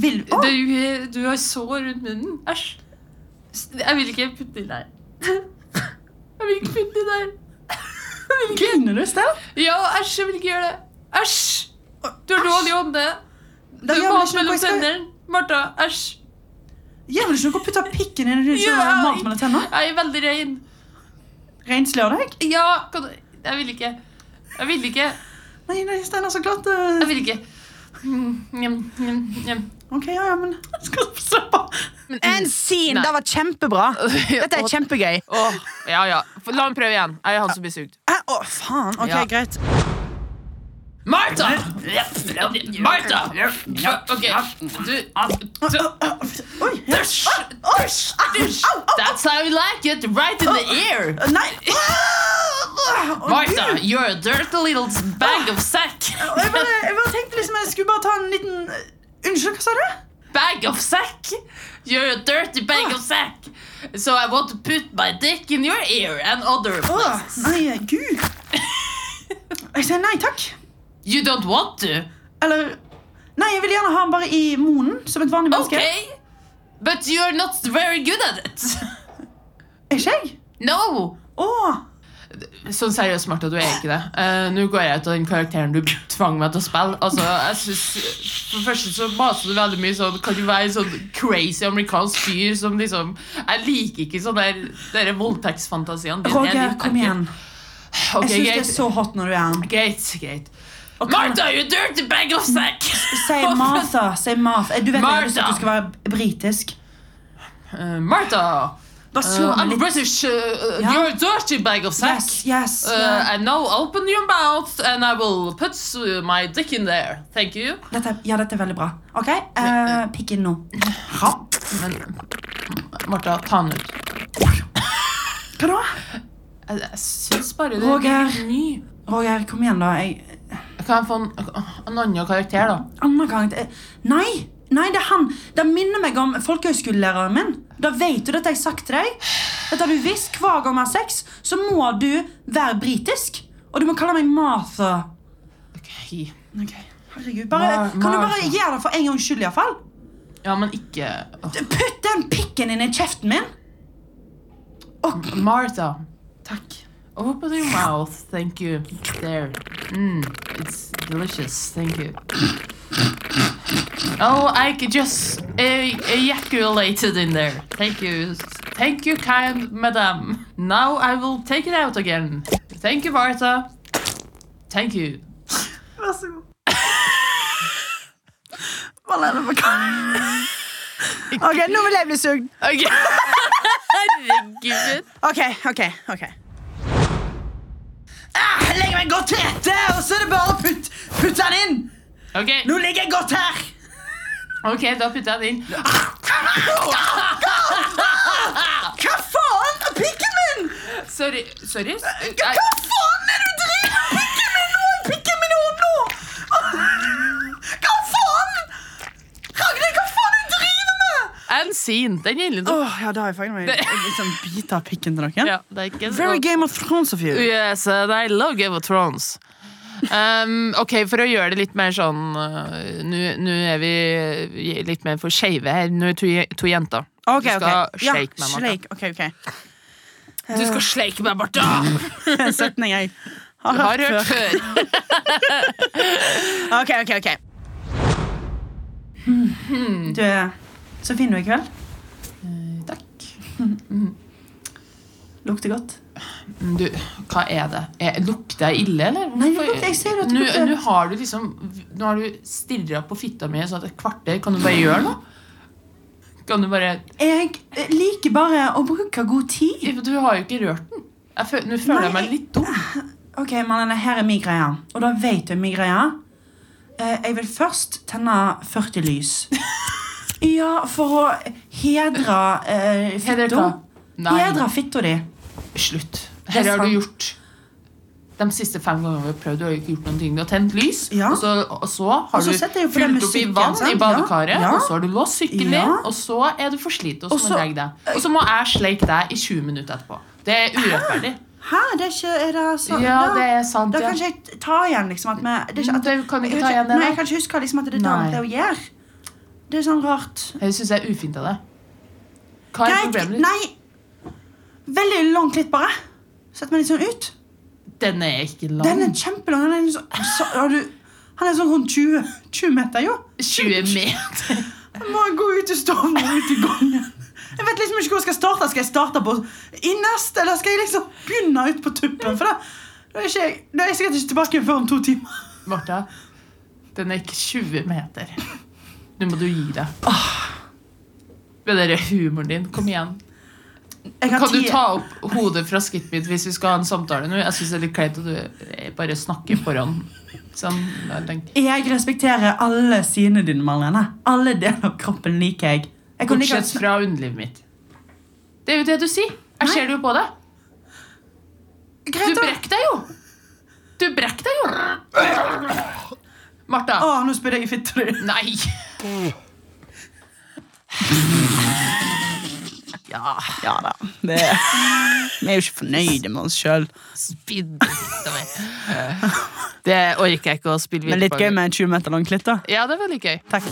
Speaker 2: vil Å, [laughs]
Speaker 1: Du, du har sår rundt munnen. Æsj. Jeg vil ikke putte det
Speaker 2: [laughs]
Speaker 1: der. Jeg vil ikke putte det der.
Speaker 2: griner du, Steinar?
Speaker 1: Ja, æsj, jeg vil ikke gjøre det. Æsj! Du har
Speaker 2: Æsj.
Speaker 1: dårlig ånde.
Speaker 2: Da
Speaker 1: Du
Speaker 2: gjør
Speaker 1: har mat
Speaker 2: vel ikke noe
Speaker 1: mellom
Speaker 2: jeg skal-
Speaker 1: tennene. Martha, æsj.
Speaker 2: Gjør vel ikke noe å putte pikken inn i din
Speaker 1: Ja,
Speaker 2: yeah. mat mellom tennene?
Speaker 1: Jeg er veldig rein.
Speaker 2: Reinslør deg?
Speaker 1: Ja, kan du Jeg vil ikke. Jeg vil ikke.
Speaker 2: Nei, nei, Steinar, så klart.
Speaker 1: Jeg
Speaker 2: eh,
Speaker 1: vil ikke. Mm, mm, mm, mm.
Speaker 2: Ok, ja, ja, men [laughs] Skal du slappe av? En scene!
Speaker 1: Nei.
Speaker 2: Det var kjempebra.
Speaker 1: [laughs]
Speaker 2: Dette
Speaker 1: Og-
Speaker 2: er kjempegøy.
Speaker 1: Åh, ja, ja. La meg prøve igjen. Jeg er han som blir sugd.
Speaker 2: Hæ? Å, faen. Ok,
Speaker 1: Ja.
Speaker 2: greit.
Speaker 1: Martha! Martha! Ok, du du-
Speaker 2: Oi!
Speaker 1: Dusj!
Speaker 2: Dusj!
Speaker 1: Dusj! That's how you like it, right in the ear! [laughs]
Speaker 2: Nei! Åh! Åh,
Speaker 1: Martha,
Speaker 2: Gud.
Speaker 1: you're a dirty little bag of sack.
Speaker 2: Jeg bare, jeg bare tenkte liksom jeg skulle bare ta en liten eh, Unnskyld, hva sa du?
Speaker 1: Bag of sack? You're a dirty bag of sack. So I want to put my dick in your ear and other
Speaker 2: Åh,
Speaker 1: places. [laughs]
Speaker 2: nei, gud. Jeg sier nei takk.
Speaker 1: You don't want to?
Speaker 2: Eller Nei, jeg vil gjerne ha den bare i munnen, som et vanlig menneske.
Speaker 1: Okay. But you're not very good at it. [laughs]
Speaker 2: Er ikke jeg?
Speaker 1: No!
Speaker 2: Åh.
Speaker 1: Sånn seriøst, Martha, du er ikke det. Eh, Nå går jeg ut av den karakteren du tvang meg til å spille. Altså, jeg synes, For det første så maser du veldig mye sånn Kan du være en sånn crazy amerikansk fyr som liksom Jeg liker ikke sånne der, dere voldtektsfantasiene. dine. Jeg
Speaker 2: Roger,
Speaker 1: liker
Speaker 2: kom
Speaker 1: ikke.
Speaker 2: igjen.
Speaker 1: Ok,
Speaker 2: Jeg syns det
Speaker 1: greit,
Speaker 2: er så hot når du er her.
Speaker 1: greit, greit. Martha, you dirty bag of sack!
Speaker 2: Si
Speaker 1: [laughs]
Speaker 2: Martha. Si Martha. Eh, Du vet jeg har lyst til
Speaker 1: Martha.
Speaker 2: at du skal være britisk.
Speaker 1: Eh, Martha!
Speaker 2: Bare slå
Speaker 1: eh,
Speaker 2: meg
Speaker 1: I'm
Speaker 2: litt.
Speaker 1: British. eh, eh,
Speaker 2: Ja.
Speaker 1: You're a dirty bag of sack.
Speaker 2: Yes, yes.
Speaker 1: Uh,
Speaker 2: ja.
Speaker 1: and now open your mouth, and I will put uh, my dick in there. Thank you.
Speaker 2: Dette, er- ja, dette er veldig bra. OK, uh, pikk inn nå. Ha.
Speaker 1: Men Martha, ta den ut.
Speaker 2: Hva da?
Speaker 1: Jeg, jeg syns bare det
Speaker 2: Roger.
Speaker 1: er mye.
Speaker 2: Roger, kom igjen, da. Jeg,
Speaker 1: Kan jeg få en, en annen karakter, da?
Speaker 2: annen karakter Eh, Nei! Nei, det er han. Det minner meg om folkehøyskolelæreren min. Da vet du dette har jeg sagt til deg. Dette har du visst hver gang vi har sex, så må du være britisk. Og du må kalle meg Martha.
Speaker 1: Ok.
Speaker 2: Herregud, bare,
Speaker 1: Mar-
Speaker 2: Kan du bare
Speaker 1: Martha.
Speaker 2: gjøre det for en gangs skyld, iallfall?
Speaker 1: Ja, men ikke Åh,
Speaker 2: Putt den pikken din i kjeften min! Og,
Speaker 1: Martha.
Speaker 2: takk.
Speaker 1: Open your mouth. Thank you. There. Mm, it's delicious. Thank you. Oh, I could just e- ejaculated in there. Thank you. Thank you, kind madam. Now I will take it out again. Thank you, Martha. Thank you.
Speaker 2: Vær så god. [laughs] Marlene, hva kan [laughs] Ok, nå vil jeg bli sugd.
Speaker 1: Okay. Herregud.
Speaker 2: Ok, ok, ok. Ah, legg meg godt til rette, og så er det bare å putt- putte den inn!
Speaker 1: Ok,
Speaker 2: Nå ligger jeg godt her! Ah,
Speaker 1: ok, da putter jeg den inn.
Speaker 2: ah. Hva faen? Pikken min!
Speaker 1: Sorry. Sorry?
Speaker 2: Hva
Speaker 1: Jeg,
Speaker 2: faen er det du driver med? Pikken min nå! Pikken min i hånden nå! [laughs] Hva faen?
Speaker 1: sin. Den gjelder nå.
Speaker 2: Åh, ja, da har jeg fanget meg liksom biter av pikken til noen.
Speaker 1: Ja, det er ikke så-
Speaker 2: Very Game of Thrones of you.
Speaker 1: Yes, and I love Game of Thrones. Um, ok, for å gjøre det litt mer sånn uh, Nå nå er vi litt mer for skeive her. Nå er det to, to jenter.
Speaker 2: Ok,
Speaker 1: du skal
Speaker 2: ok. Ja,
Speaker 1: sleike meg, Martha.
Speaker 2: sleik. Ok, [laughs] ok.
Speaker 1: Du skal sleike meg,
Speaker 2: [laughs]
Speaker 1: Martha!
Speaker 2: En setning jeg har,
Speaker 1: Har
Speaker 2: hørt
Speaker 1: hørt
Speaker 2: før.
Speaker 1: før.
Speaker 2: Ok, ok, ok.
Speaker 1: Mhm.
Speaker 2: Du er så fin du er i kveld.
Speaker 1: Takk.
Speaker 2: Lukter godt.
Speaker 1: Du, hva er det? Er, lukter jeg ille, eller?
Speaker 2: Nei,
Speaker 1: Hvorfor-
Speaker 2: jeg ser at du
Speaker 1: Nå
Speaker 2: lukter-
Speaker 1: nå har du liksom Nå har du stirra på fitta mi sånn at et kvarter. Kan du bare gjøre noe? Kan du bare
Speaker 2: Jeg eh, liker bare å bruke god tid.
Speaker 1: Du har jo ikke rørt den. Jeg føl, nå føler jeg
Speaker 2: Nei,
Speaker 1: meg litt dum.
Speaker 2: Ok, Marlene, her er min greie. Og da vet du min greie. Eh, Jeg vil først tenne 40 lys.
Speaker 1: [laughs]
Speaker 2: Ja, for å hedre eh,
Speaker 1: Hedre
Speaker 2: fitto.
Speaker 1: hva?
Speaker 2: Hedre fitta di.
Speaker 1: Slutt.
Speaker 2: er
Speaker 1: Her har
Speaker 2: sant.
Speaker 1: du gjort de siste fem gangene vi har prøvd, du har jo ikke gjort noen ting. Du har tent lys,
Speaker 2: Ja.
Speaker 1: og, så, og så har
Speaker 2: Og så
Speaker 1: du
Speaker 2: setter jeg jo på den
Speaker 1: fylt opp i
Speaker 2: musikken,
Speaker 1: vann
Speaker 2: sant?
Speaker 1: i badekaret,
Speaker 2: Ja, ja.
Speaker 1: og så har du låst sykkelen din,
Speaker 2: Ja.
Speaker 1: og så er du for sliten, og
Speaker 2: Og
Speaker 1: så
Speaker 2: så-
Speaker 1: må du legge deg. Og så må jeg sleike deg i 20 minutter etterpå. Det er urettferdig.
Speaker 2: Hæ, det er ikke Er det sant?
Speaker 1: Ja, det er sant.
Speaker 2: Da
Speaker 1: Ja.
Speaker 2: kan ikke jeg ta igjen liksom at vi det er ikke, at,
Speaker 1: Du kan ikke
Speaker 2: jeg
Speaker 1: ta igjen det,
Speaker 2: Nei,
Speaker 1: nei.
Speaker 2: jeg kan ikke huske liksom, at det er det
Speaker 1: Nei.
Speaker 2: det å gjøre. Det er sånn rart.
Speaker 1: Det syns jeg er ufint av deg. Hva er problemet ditt?
Speaker 2: nei. Veldig lang klitt, bare. Sett meg litt sånn ut.
Speaker 1: Den er ikke
Speaker 2: Den
Speaker 1: lang.
Speaker 2: er kjempelang. Den er liksom, så, har du, han er sånn rundt 20, 20 meter, jo.
Speaker 1: 20 meter.
Speaker 2: Jeg må gå ut i stovnen og ut i gangen. Jeg vet liksom ikke hvor jeg skal starte. Skal jeg starte på innerst, eller skal jeg liksom begynne ut på tuppen? For da, da, er, ikke jeg, da er jeg sikkert ikke tilbake igjen før om to timer.
Speaker 1: Martha, den er ikke 20 meter. Nå må du gi deg.
Speaker 2: Ah.
Speaker 1: Med den der humoren din. Kom igjen.
Speaker 2: Jeg har
Speaker 1: Kan du
Speaker 2: tid-
Speaker 1: ta opp hodet fra skrittet mitt hvis vi skal ha en samtale nå? Jeg syns det er litt kleint at du bare snakker foran. Sånn, jeg tenkte.
Speaker 2: Jeg respekterer alle sidene dine, Marlene. Alle deler av kroppen liker jeg. jeg kan like
Speaker 1: Bortsett fra underlivet mitt. Det er jo det du sier. Jeg ser det jo på deg. Du
Speaker 2: Greit, da.
Speaker 1: brekker deg jo. Du brekker deg jo. Martha.
Speaker 2: Å, nå spydde jeg i fitta di.
Speaker 1: Nei. Ja.
Speaker 2: Ja da. Det. Vi er jo ikke fornøyde med oss sjøl.
Speaker 1: Spydde utover. Det orker jeg ikke å spille
Speaker 2: Men
Speaker 1: videre
Speaker 2: litt gøy med en 20 meter lang klitt, da.
Speaker 1: Ja, det er veldig gøy.
Speaker 2: Takk.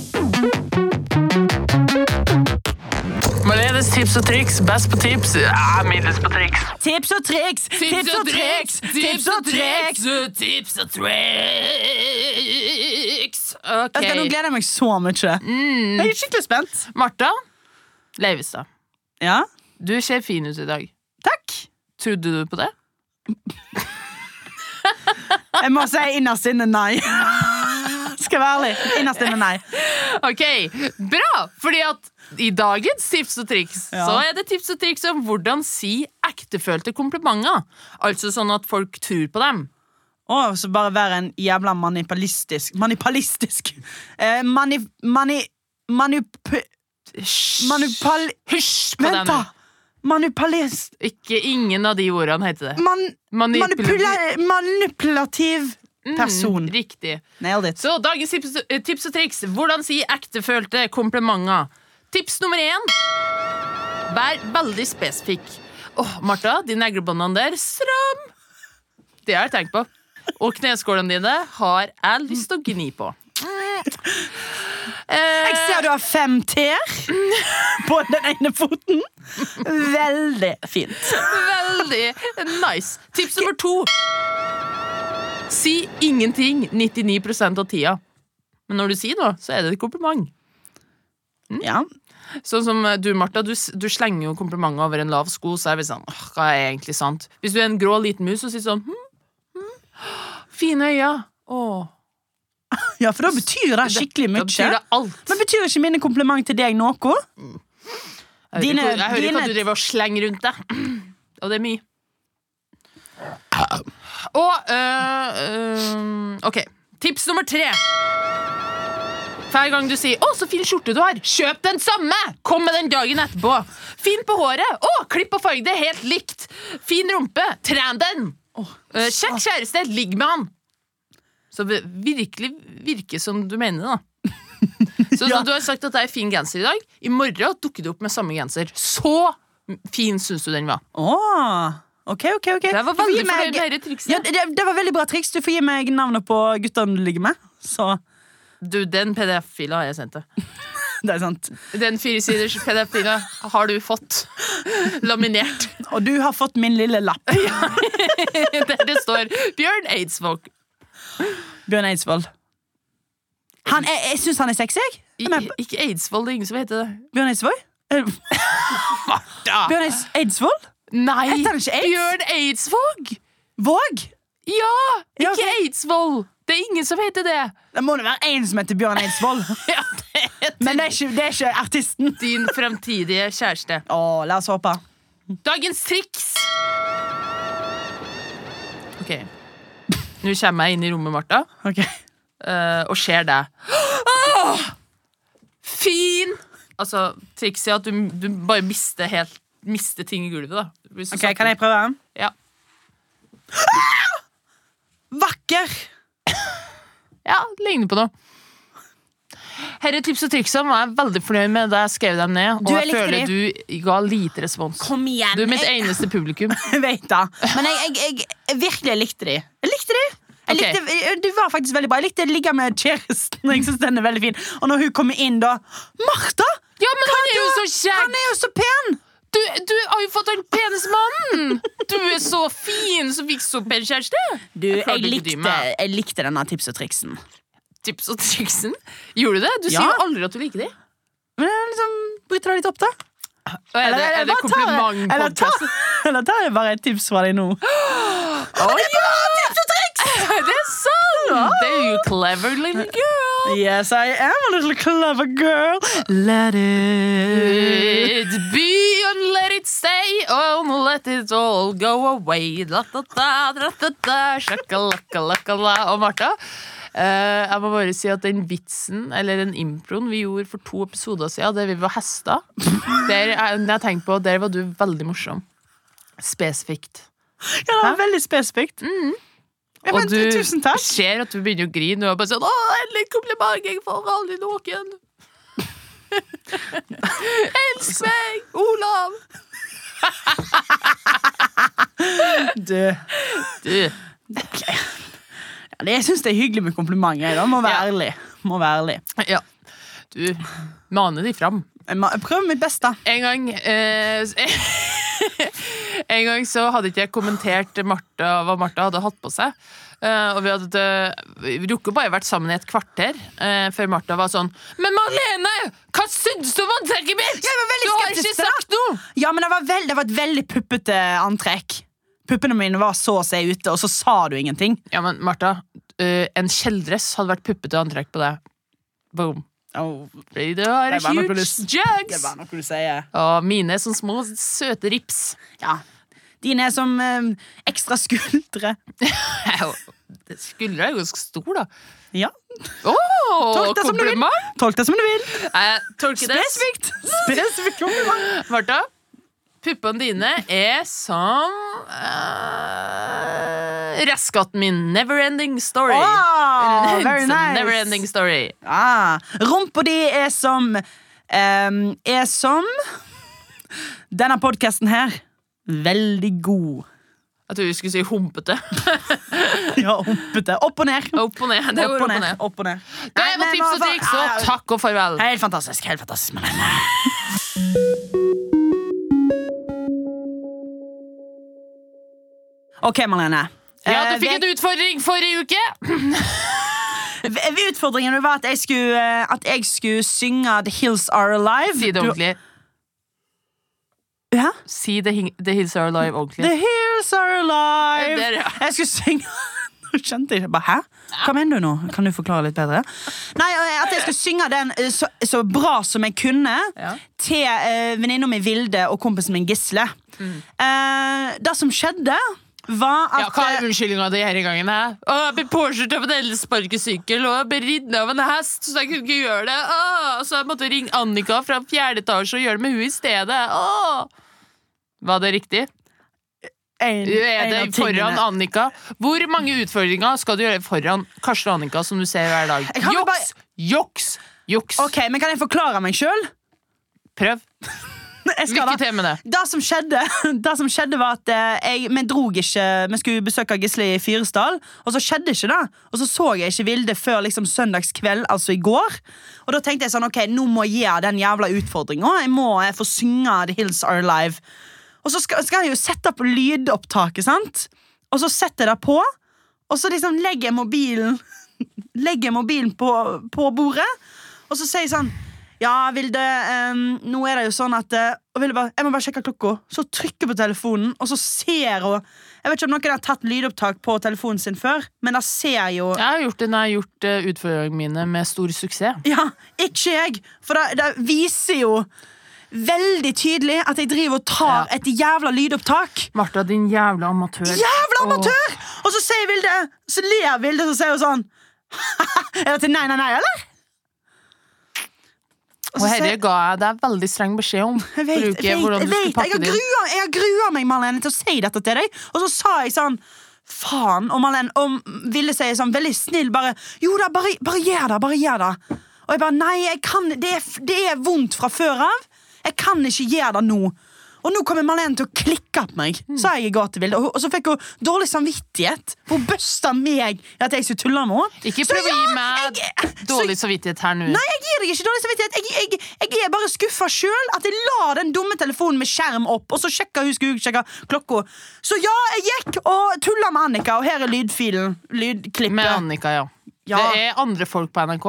Speaker 1: Marlenes tips og triks, best på tips, ja, middels på triks.
Speaker 2: Tips og triks! Tips og triks! Tips og triks!
Speaker 1: tips og triks. Ok. Mm.
Speaker 2: Nå gleder jeg meg så mye. Jeg er skikkelig spent.
Speaker 1: Martha Leivestad,
Speaker 2: Ja,
Speaker 1: du ser fin ut i dag.
Speaker 2: takk.
Speaker 1: Trodde du på det?
Speaker 2: Jeg må si innerst inne nei. [laughs] Skal jeg være ærlig. Innerst inne nei.
Speaker 1: Ok, bra! Fordi at i dagens tips og triks
Speaker 2: Ja.
Speaker 1: så er det tips og triks om hvordan si ektefølte komplimenter. Altså sånn at folk tror på dem.
Speaker 2: Og så bare være en jævla manipalistisk Manipalistisk! Eh, mani... Mani... Manup...
Speaker 1: Hysj
Speaker 2: Manupal...
Speaker 1: Hysj på
Speaker 2: Vent,
Speaker 1: deg nå.
Speaker 2: da! Manipalist...
Speaker 1: Ikke ingen av de ordene heter det.
Speaker 2: Man... Manipula manipulativ person.
Speaker 1: Mm, riktig.
Speaker 2: Nailed it.
Speaker 1: Så dagens tips, eh, tips og triks. Hvordan si ektefølte komplimenter. Tips nummer én. Vær veldig spesifikk. Åh, Martha, de neglebåndene der, stram! Det har jeg tenkt på. Og kneskålene dine har jeg lyst til å gni på. Eh,
Speaker 2: Jeg ser du har fem t-er på den ene foten. Veldig fint.
Speaker 1: Veldig nice. Tips nummer to. Si ingenting 99 av tida. Men når du sier noe, så er det et kompliment.
Speaker 2: Ja.
Speaker 1: Sånn som eh, du, Martha, du, s- du slenger jo komplimenter over en lav sko, så er vi sånn Åh, hva er egentlig sant? Hvis du er en grå liten mus, så sier du sånn hm, hm, Fine øyne. Åh.
Speaker 2: ja, for da betyr det skikkelig
Speaker 1: Da
Speaker 2: mye.
Speaker 1: betyr det alt.
Speaker 2: Men betyr ikke mine kompliment til deg noe?
Speaker 1: Jeg hører,
Speaker 2: dine-
Speaker 1: ikke- jeg hører ikke
Speaker 2: dine-
Speaker 1: at du driver og slenger rundt deg. [clears throat] Og det er mye. Og øh, øh, OK. Tips nummer tre. Hver gang du sier 'Å, så fin skjorte du har', kjøp den samme! Kom med den dagen etterpå. Fin på håret. Å, klipp og farg det helt likt. Fin rumpe. Tren den. Eh, Kjekk
Speaker 2: [laughs]
Speaker 1: kjæreste. Ligg med han. Så det virkelig virker som du mener det, da. Så når du har sagt at det er fin genser i dag, i morgen dukker du opp med samme genser. Så fin syns du den var.
Speaker 2: Åh, ok, ok, ok
Speaker 1: Det var
Speaker 2: Du får gi
Speaker 1: veldig fornøyd med dette
Speaker 2: ja,
Speaker 1: trikset.
Speaker 2: det, det- det var veldig bra triks. Du får gi meg navnet på guttene du ligger med. Så
Speaker 1: Du, den PDF-fila har jeg sendt deg.
Speaker 2: det er sant
Speaker 1: Den firesiders PDF-fila har du fått [laughs] laminert. [laughs]
Speaker 2: Og du har fått min lille lapp,
Speaker 1: Der det står Bjørn Eidsvåg.
Speaker 2: Bjørn Eidsvoll. Han er, jeg syns han er sexy. jeg.
Speaker 1: I, ikke Eidsvoll, det er ingen som heter det.
Speaker 2: Bjørn Eidsvoll? Eh,
Speaker 1: Bjørn-
Speaker 2: Bjørn Eids Eidsvoll?
Speaker 1: Nei!
Speaker 2: Heter han ikke Eids?
Speaker 1: Bjørn Eidsvåg!
Speaker 2: Våg?
Speaker 1: Ja! Ikke
Speaker 2: Ja, ok.
Speaker 1: Eidsvoll! Det er ingen som heter det.
Speaker 2: Det må det være én som heter Bjørn [laughs] Eidsvoll.
Speaker 1: [laughs] Ja, det er
Speaker 2: Men det er ikke, det er ikke artisten.
Speaker 1: din fremtidige kjæreste.
Speaker 2: Å, la oss håpe.
Speaker 1: Dagens triks! OK. Nå kommer jeg inn i rommet, Martha,
Speaker 2: Ok
Speaker 1: eh, og ser deg. Åh! Fin! Altså, trikset er at du, du bare mister helt Mister ting i gulvet, da. Hvis du
Speaker 2: Ok,
Speaker 1: satt-
Speaker 2: Kan jeg prøve?
Speaker 1: Ja.
Speaker 2: Vakker.
Speaker 1: Ja, det ligner på noe. Herre tips og trikser var jeg veldig fornøyd med da jeg skrev dem ned.
Speaker 2: Du,
Speaker 1: Og
Speaker 2: jeg
Speaker 1: jeg
Speaker 2: likte
Speaker 1: føler du ga lite respons.
Speaker 2: Kom igjen.
Speaker 1: Du er mitt e- eneste publikum.
Speaker 2: Jeg [laughs] vet det. Men jeg, jeg, jeg, jeg virkelig likte de. Jeg likte de. Jeg
Speaker 1: Ok.
Speaker 2: likte, du var faktisk veldig bra. Jeg likte å ligge med kjæresten. Jeg synes den er veldig fin Og når hun kommer inn, da Martha!
Speaker 1: Ja, men han er jo så
Speaker 2: Han
Speaker 1: kjekk!
Speaker 2: er jo så pen!
Speaker 1: Du, du har jo fått den peneste mannen! Du er så fin som fikk så pen kjæreste!
Speaker 2: Du,
Speaker 1: Jeg klarte ikke
Speaker 2: jeg
Speaker 1: å dy
Speaker 2: likte,
Speaker 1: meg.
Speaker 2: jeg likte denne tips og triksen.
Speaker 1: Tips og triksen. Gjorde du det? Du
Speaker 2: Ja.
Speaker 1: sier jo aldri at du liker dem.
Speaker 2: Men jeg liksom bryter det litt opp, da.
Speaker 1: Og Er det, er det
Speaker 2: bare tar- eller
Speaker 1: komplimentpodkast?
Speaker 2: tar- [laughs] Eller tar jeg bare et tips fra deg nå? Tips og [laughs] triks!
Speaker 1: Det er sant! Det er jo clever little girl.
Speaker 2: Yes, I am a little clever girl. Let it
Speaker 1: It be and let it stay and let it all go away. La, da, da, da, da, da, shakalakala. Og Martha, eh, jeg må bare si at den vitsen, eller den improen vi gjorde for to episoder siden, der vi var hester, der, eh, når jeg tenkte på, der var du veldig morsom. Spesifikt.
Speaker 2: Ja, det var veldig spesifikt. Ja, men, eh,
Speaker 1: Og du
Speaker 2: tusen takk.
Speaker 1: ser at du begynner å grine, og er bare sånn Å, endelig kompliment! Jeg får aldri
Speaker 2: [laughs]
Speaker 1: noen! [laughs] Elsk meg! Olav!
Speaker 2: Du, ja,
Speaker 1: Du.
Speaker 2: det- jeg syns det er hyggelig med komplimenter. jeg, Da. Må være
Speaker 1: Ja.
Speaker 2: ærlig. Må være ærlig.
Speaker 1: Ja. Du maner de fram.
Speaker 2: Jeg må- jeg prøver mitt beste.
Speaker 1: En gang eh, [laughs] En gang så hadde ikke jeg kommentert Martha, hva Martha hadde hatt på seg. Eh, og vi hadde vi rukket bare vært sammen i et kvarter eh, før Martha var sånn Men Marlene, hva syns du om antrekket mitt?!
Speaker 2: Jeg var veldig
Speaker 1: Du har
Speaker 2: skeptisk
Speaker 1: ikke
Speaker 2: til det.
Speaker 1: sagt noe!
Speaker 2: Ja, men det var, vel- det var et veldig puppete antrekk. Puppene mine var så å si ute, og så sa du ingenting.
Speaker 1: Ja, men Martha, eh, en kjeledress hadde vært puppete antrekk på deg. Boom. Fordi du har
Speaker 2: Det var noe
Speaker 1: huge
Speaker 2: lyst. Det
Speaker 1: jugs!
Speaker 2: var noe du sier.
Speaker 1: Og mine er sånne små, søte rips.
Speaker 2: Ja. Dine er som eh, ekstra skuldre.
Speaker 1: Au. Det Skuldra er jo ganske stor, da.
Speaker 2: Ja.
Speaker 1: Å,
Speaker 2: Tolk det som du vil.
Speaker 1: kompliment!
Speaker 2: Tolk det som du vil.
Speaker 1: Jeg tolker det.
Speaker 2: Spesifikt. Spesifikt kompliment.
Speaker 1: Martha, puppene dine er som eh, Raskatten min. Neverending story.
Speaker 2: Åh, very
Speaker 1: It's a
Speaker 2: nice.
Speaker 1: Neverending story.
Speaker 2: Ah, Rumpa di er som ehm, Er som Denne podkasten her. Veldig god.
Speaker 1: Jeg trodde vi skulle si humpete. [laughs]
Speaker 2: Ja, humpete. Opp og ned.
Speaker 1: Opp og ned. Oh, Det går opp og ned.
Speaker 2: Opp og ned.
Speaker 1: Det
Speaker 2: Nei,
Speaker 1: var
Speaker 2: men
Speaker 1: tips og
Speaker 2: hva faen-
Speaker 1: triks,
Speaker 2: Ah,
Speaker 1: og takk og farvel.
Speaker 2: Helt fantastisk. Helt fantastisk. Men- Ok, Marlene.
Speaker 1: Ja,
Speaker 2: Eh,
Speaker 1: du fikk en utfordring forrige uke. [clears throat]
Speaker 2: ve- ve- Utfordringen var at jeg skulle, eh, at jeg skulle synge The Hills Are Alive.
Speaker 1: Si det
Speaker 2: Du-
Speaker 1: ordentlig.
Speaker 2: Hæ?
Speaker 1: Si The, Hing- the Hills Are Alive
Speaker 2: The
Speaker 1: ordentlig.
Speaker 2: Hills Are Alive.
Speaker 1: Der, ja.
Speaker 2: Jeg skulle synge [laughs] Nå skjønte jeg ikke. Bare, Hæ? Hva mener du nå? Kan du forklare litt bedre? Nei, eh, At jeg skulle synge den eh, så, så bra som jeg kunne
Speaker 1: Ja.
Speaker 2: til eh, venninna mi Vilde og kompisen min Gisle. Eh, det som skjedde, var
Speaker 1: Mm. Ja,
Speaker 2: at
Speaker 1: hva er
Speaker 2: eh,
Speaker 1: unnskyldninga di denne gangen? Her? Å, jeg ble påkjørt av en elsparkesykkel og jeg ble ridd av en hest, så jeg kunne ikke gjøre det. Å, så jeg måtte ringe Annika fra fjerde etasje og gjøre det med henne i stedet. Å. Var det riktig?
Speaker 2: eh, en-
Speaker 1: Du er
Speaker 2: en
Speaker 1: det
Speaker 2: av tingene-
Speaker 1: foran Annika. Hvor mange utfordringer skal du gjøre foran Karsten og Annika, som du ser hver dag?
Speaker 2: Jeg kan vel
Speaker 1: Joks, joks, Juks.
Speaker 2: Ok, men Kan jeg forklare meg sjøl?
Speaker 1: Prøv. Lykke til med det.
Speaker 2: Det som skjedde, [laughs] det som skjedde var at eh, jeg, vi drog ikke Vi skulle besøke Gisle i Fyresdal, og så skjedde ikke det. Og så så jeg ikke Vilde før liksom søndagskveld, altså i går. Og da tenkte jeg sånn, ok, nå må jeg gjøre den jævla utfordringa. Jeg må eh, få synge The Hills Are Alive. Og så skal, skal jeg jo sette opp lydopptaket, sant? Og så setter jeg det på, og så liksom legger jeg mobilen [laughs] Legger jeg mobilen på, på bordet, og så sier jeg sånn Ja, Vilde, em, nå er det jo sånn at eh», Og Vilde bare Jeg må bare sjekke klokka. Så trykker jeg på telefonen, og så ser hun Jeg vet ikke om noen har tatt lydopptak på telefonen sin før, men da ser jeg jo
Speaker 1: Jeg har gjort det når jeg har gjort eh, utfordringene mine med stor suksess.
Speaker 2: Ja, ikke jeg! For det, det viser jo veldig tydelig at jeg driver og tar
Speaker 1: Ja.
Speaker 2: et jævla lydopptak.
Speaker 1: Martha, din jævla amatør.
Speaker 2: Jævla
Speaker 1: Åh.
Speaker 2: amatør! Og så sier Vilde Så ler Vilde, så sier hun sånn [laughs] Er det til nei, nei, nei, eller?
Speaker 1: Og herre
Speaker 2: sier-
Speaker 1: ga jeg deg veldig streng beskjed
Speaker 2: [laughs]
Speaker 1: om.
Speaker 2: jeg vet,
Speaker 1: Bruker
Speaker 2: jeg, vet,
Speaker 1: hvordan
Speaker 2: jeg,
Speaker 1: du skulle
Speaker 2: vet. jeg
Speaker 1: pakke
Speaker 2: har
Speaker 1: det inn.
Speaker 2: grua, jeg har grua meg Marlene, til å si dette til deg. Og så sa jeg sånn Faen. Og Marlene om ville si sånn veldig snill bare Jo da, bare, bare gjør det. Bare gjør det. Og jeg bare Nei, jeg kan, det, er, f- det er vondt fra før av. Jeg kan ikke gjøre det nå. Og nå kommer Marlene til å klikke på meg,
Speaker 1: Mm.
Speaker 2: sa jeg i går til Vilde. Og, hun- og så fikk hun dårlig samvittighet. Hun busta meg i at jeg skulle tulle med henne.
Speaker 1: Ikke
Speaker 2: Så
Speaker 1: prøv å gi
Speaker 2: ja,
Speaker 1: meg
Speaker 2: jeg- [laughs] så-
Speaker 1: dårlig samvittighet her nå.
Speaker 2: Nei, jeg gir deg ikke dårlig samvittighet. Jeg, jeg, jeg er bare skuffa sjøl at jeg la den dumme telefonen med skjerm opp, og så sjekka hun skulle sjekke klokka. Så ja, jeg gikk og tulla med Annika, og her er lydfilen. Lydklippet.
Speaker 1: Med Annika, ja.
Speaker 2: Ja.
Speaker 1: Det er andre folk på NRK.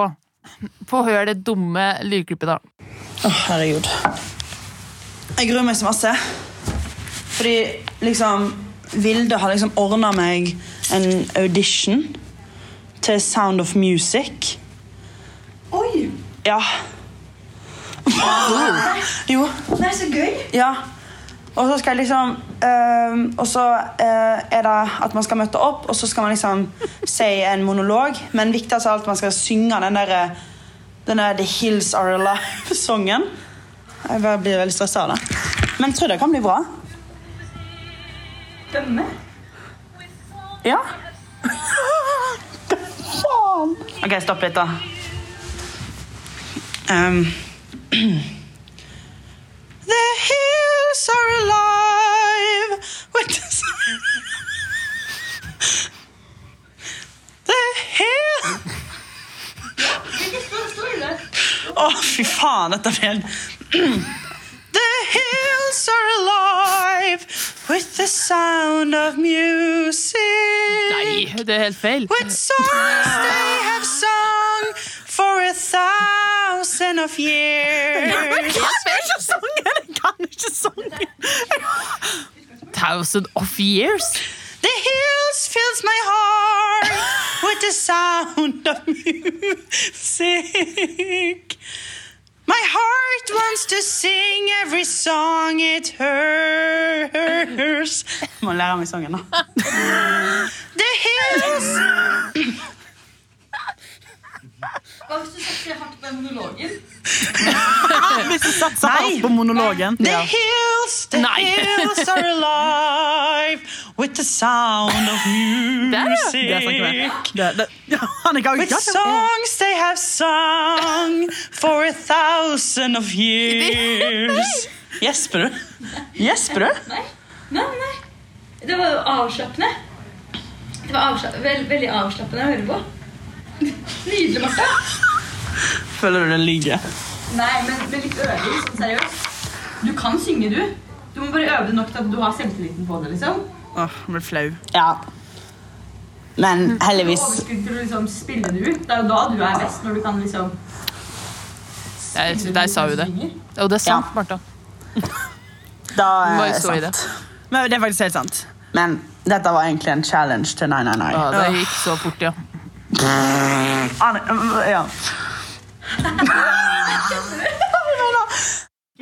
Speaker 1: Få høre det dumme lydklippet, da.
Speaker 2: Å, herregud. Jeg gruer meg så masse. Fordi liksom Vilde har liksom ordna meg en audition til Sound of Music.
Speaker 3: Oi!
Speaker 2: Ja. [laughs] Jo.
Speaker 3: Nei, så gøy!
Speaker 2: Ja. Og så skal jeg liksom ehm, Og så eh, er det at man skal møte opp, og så skal man liksom si en monolog. Men viktigst av alt, man skal synge den derre den der The Hills Are Alive-sangen. Jeg bare blir veldig stressa av det. Men jeg tror det kan bli bra.
Speaker 3: Denne?
Speaker 2: Ja. Faen! OK, stopp litt, da. Ehm. [clears throat] The hills are alive with the sun. [laughs] The hill [laughs] Å, fy faen, dette er feil. [clears throat] The hills are alive with the sound of music.
Speaker 1: Nei, det er helt feil.
Speaker 2: With [laughs] songs they have sung for a thousand [laughs] of years. Jeg kan ikke sangen!
Speaker 1: Thousand of years.
Speaker 2: The hills fills my [laughs] heart with the sound of music. My heart wants to sing every song it hears. Jeg må lære meg sangen, da. The hills
Speaker 3: Hva hvis du setter hardt på den monologen?
Speaker 2: Nei. på monologen. The hills, the
Speaker 1: Nei.
Speaker 2: hills are alive with the sound
Speaker 1: [laughs]
Speaker 2: of
Speaker 1: ja.
Speaker 2: music.
Speaker 1: Det er sant, det
Speaker 2: [laughs] With songs they have sung for a thousand [laughs] of [laughs] years. Gjesper du? Gjesper du?
Speaker 3: Nei. Nei, nei, nei. Det var jo avslappende. Det var avsla vel- veldig avslappende å høre på. Nydelig, Martha.
Speaker 2: Føler du det ligger?
Speaker 3: Nei, men med litt øving, sånn seriøst. Du kan synge, du. Du må bare øve det nok til at du har selvtilliten på det, liksom.
Speaker 2: Åh, jeg blir flau.
Speaker 4: Ja. Men heldigvis
Speaker 3: Overskudd til å liksom spille det ut. Det er jo da du er best, når du kan liksom
Speaker 1: Der, der sa hun det. Og det er sant, Martha.
Speaker 4: Da
Speaker 1: Må
Speaker 4: er
Speaker 1: jo
Speaker 4: det
Speaker 1: stå i det.
Speaker 4: sant.
Speaker 2: eh, Men det er faktisk helt sant.
Speaker 4: Men dette var egentlig en challenge til Nei, nei, nei.
Speaker 1: Ja, det gikk så fort, ja.
Speaker 2: Ah, øh, Ja.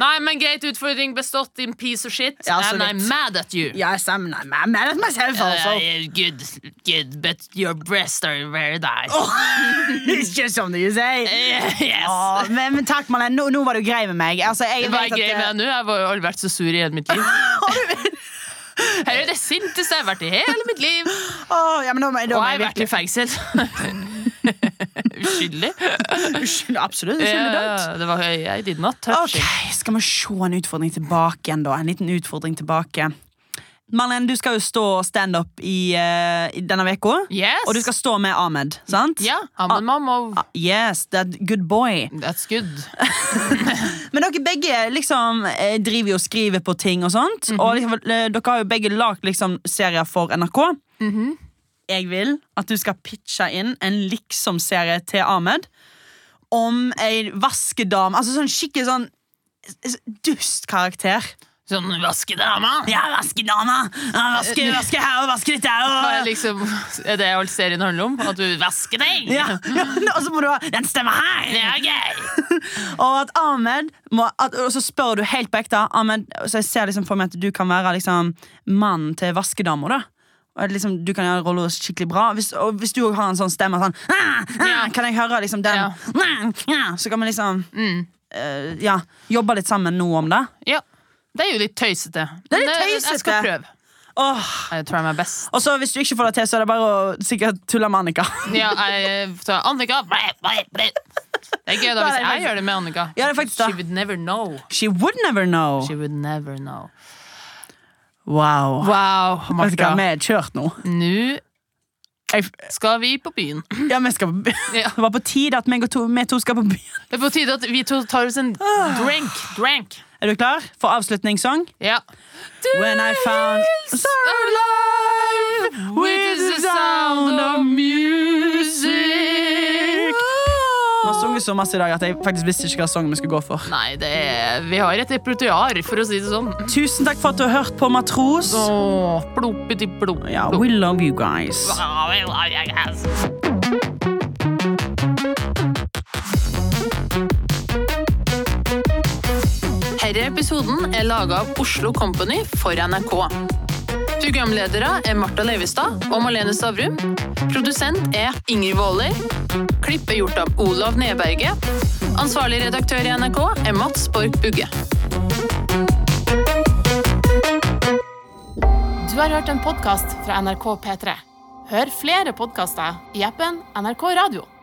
Speaker 1: Nei, men greit, utfordring bestått, din piece of shit.
Speaker 2: Ja, så
Speaker 1: And I'm
Speaker 2: vidt.
Speaker 1: mad at you.
Speaker 2: Yes, I'm, I'm, I'm mad at myself [laughs]
Speaker 1: Uh, good, good, but your breasts are very nice. Eh,
Speaker 2: It's just something you say.
Speaker 1: yes.
Speaker 2: Åh, men, men takk, Marlene. Nå, nå var du grei med meg. Altså, jeg
Speaker 1: Hva er
Speaker 2: vet at
Speaker 1: greia
Speaker 2: det-
Speaker 1: med deg nå? Jeg har jo aldri vært så sur i hele
Speaker 2: [laughs]
Speaker 1: mitt liv. Her er det sinteste jeg har vært i hele mitt liv.
Speaker 2: eh, Åh, ja, men da, må- da,
Speaker 1: Og jeg
Speaker 2: må
Speaker 1: har
Speaker 2: jeg
Speaker 1: vært i
Speaker 2: virkelig,
Speaker 1: fengsel. [laughs] Uskyldig.
Speaker 2: Unnskyld, Absolutt. Uskyldig dømt.
Speaker 1: Eh, Det var jeg did not touch
Speaker 2: Ok,
Speaker 1: it.
Speaker 2: Skal vi se en utfordring tilbake igjen, da? En liten utfordring tilbake. Marlene, du skal jo stå standup i, eh, i denne uka.
Speaker 1: Yes.
Speaker 2: Og du skal Ah. stå med Ahmed, sant?
Speaker 1: Ja, I'm a mom of
Speaker 2: Yes, that good boy.
Speaker 1: That's good.
Speaker 2: Men dere begge liksom eh, driver jo og skriver på ting og sånt. Og liksom, eh, dere har jo begge lagd liksom, serier for NRK. Mhm. Jeg vil at du skal pitche inn en liksom-serie til Ahmed om ei vaskedame. Altså sånn skikkelig sånn s- dust karakter.
Speaker 1: Sånn vaskedama.
Speaker 2: Ja, vaskedama! Ja, Vaske, vaske her og vaske litt der.
Speaker 1: Hva er
Speaker 2: Og...
Speaker 1: liksom, er det alt serien handler om? At du vasker deg?
Speaker 2: Ja, ja, og så må du ha Den stemmer her!
Speaker 1: Det er gøy!
Speaker 2: Og at Ahmed må, at, Og så spør du helt på ekte Ahmed, Så jeg ser liksom for meg at du kan være liksom, Mannen til vaskedamer da og at liksom, du kan gjøre rollen skikkelig bra Hvis, og hvis du også har en sånn stemme sånn, «Ah, ah,
Speaker 1: Ja.
Speaker 2: Kan jeg høre liksom den
Speaker 1: Ja. Mm.
Speaker 2: «Ah, ah», Så kan vi liksom eh, ja, Jobbe litt sammen nå om det
Speaker 1: Ja. Det er jo litt tøysete.
Speaker 2: Det er
Speaker 1: Men
Speaker 2: litt
Speaker 1: jeg- Jeg skal
Speaker 2: tøysete.
Speaker 1: prøve.
Speaker 2: Åh,
Speaker 1: Jeg tror jeg er best.
Speaker 2: Og så hvis du ikke får det til Så er det bare å sikkert tulle med Annika
Speaker 1: Ja, jeg, så Annika Det er gøy da hvis jeg gjør det med Annika.
Speaker 2: Ja, det er faktisk det.
Speaker 1: She would never know.
Speaker 2: She would never know
Speaker 1: She would never know. Wow,
Speaker 2: Wow, Vet du hva,
Speaker 1: Martha.
Speaker 2: vi er kjørt nå
Speaker 1: Nå
Speaker 2: jeg,
Speaker 1: skal vi på byen.
Speaker 2: Ja, vi skal på by-
Speaker 1: Ja.
Speaker 2: Det var på tide at meg og to, vi to skal på byen
Speaker 1: Det er på tide at vi to tar oss en drink. Drink.
Speaker 2: Er du klar for avslutningssang?
Speaker 1: Ja.
Speaker 2: When I found
Speaker 1: Alive with the sound of music.
Speaker 2: Vi har sunget så masse i dag at jeg faktisk visste ikke hva sangen vi skulle gå for.
Speaker 1: Nei, det er, vi har et repertoar, for å si det sånn.
Speaker 2: Tusen takk for at du har hørt på Matros.
Speaker 1: Åh, ploppeti plopp.
Speaker 2: Ja, we love you guys.
Speaker 1: Ah, we love you guys. Herre episoden er laget av Oslo Company for NRK. Programledere er Martha Leivestad og Malene Stavrum. Produsent er Ingrid Våler. Klipp er gjort av Olav Neberge. Ansvarlig redaktør i NRK er Mats Borg Bugge.
Speaker 5: Du har hørt en podkast fra NRK P3. Hør flere podkaster i appen NRK Radio.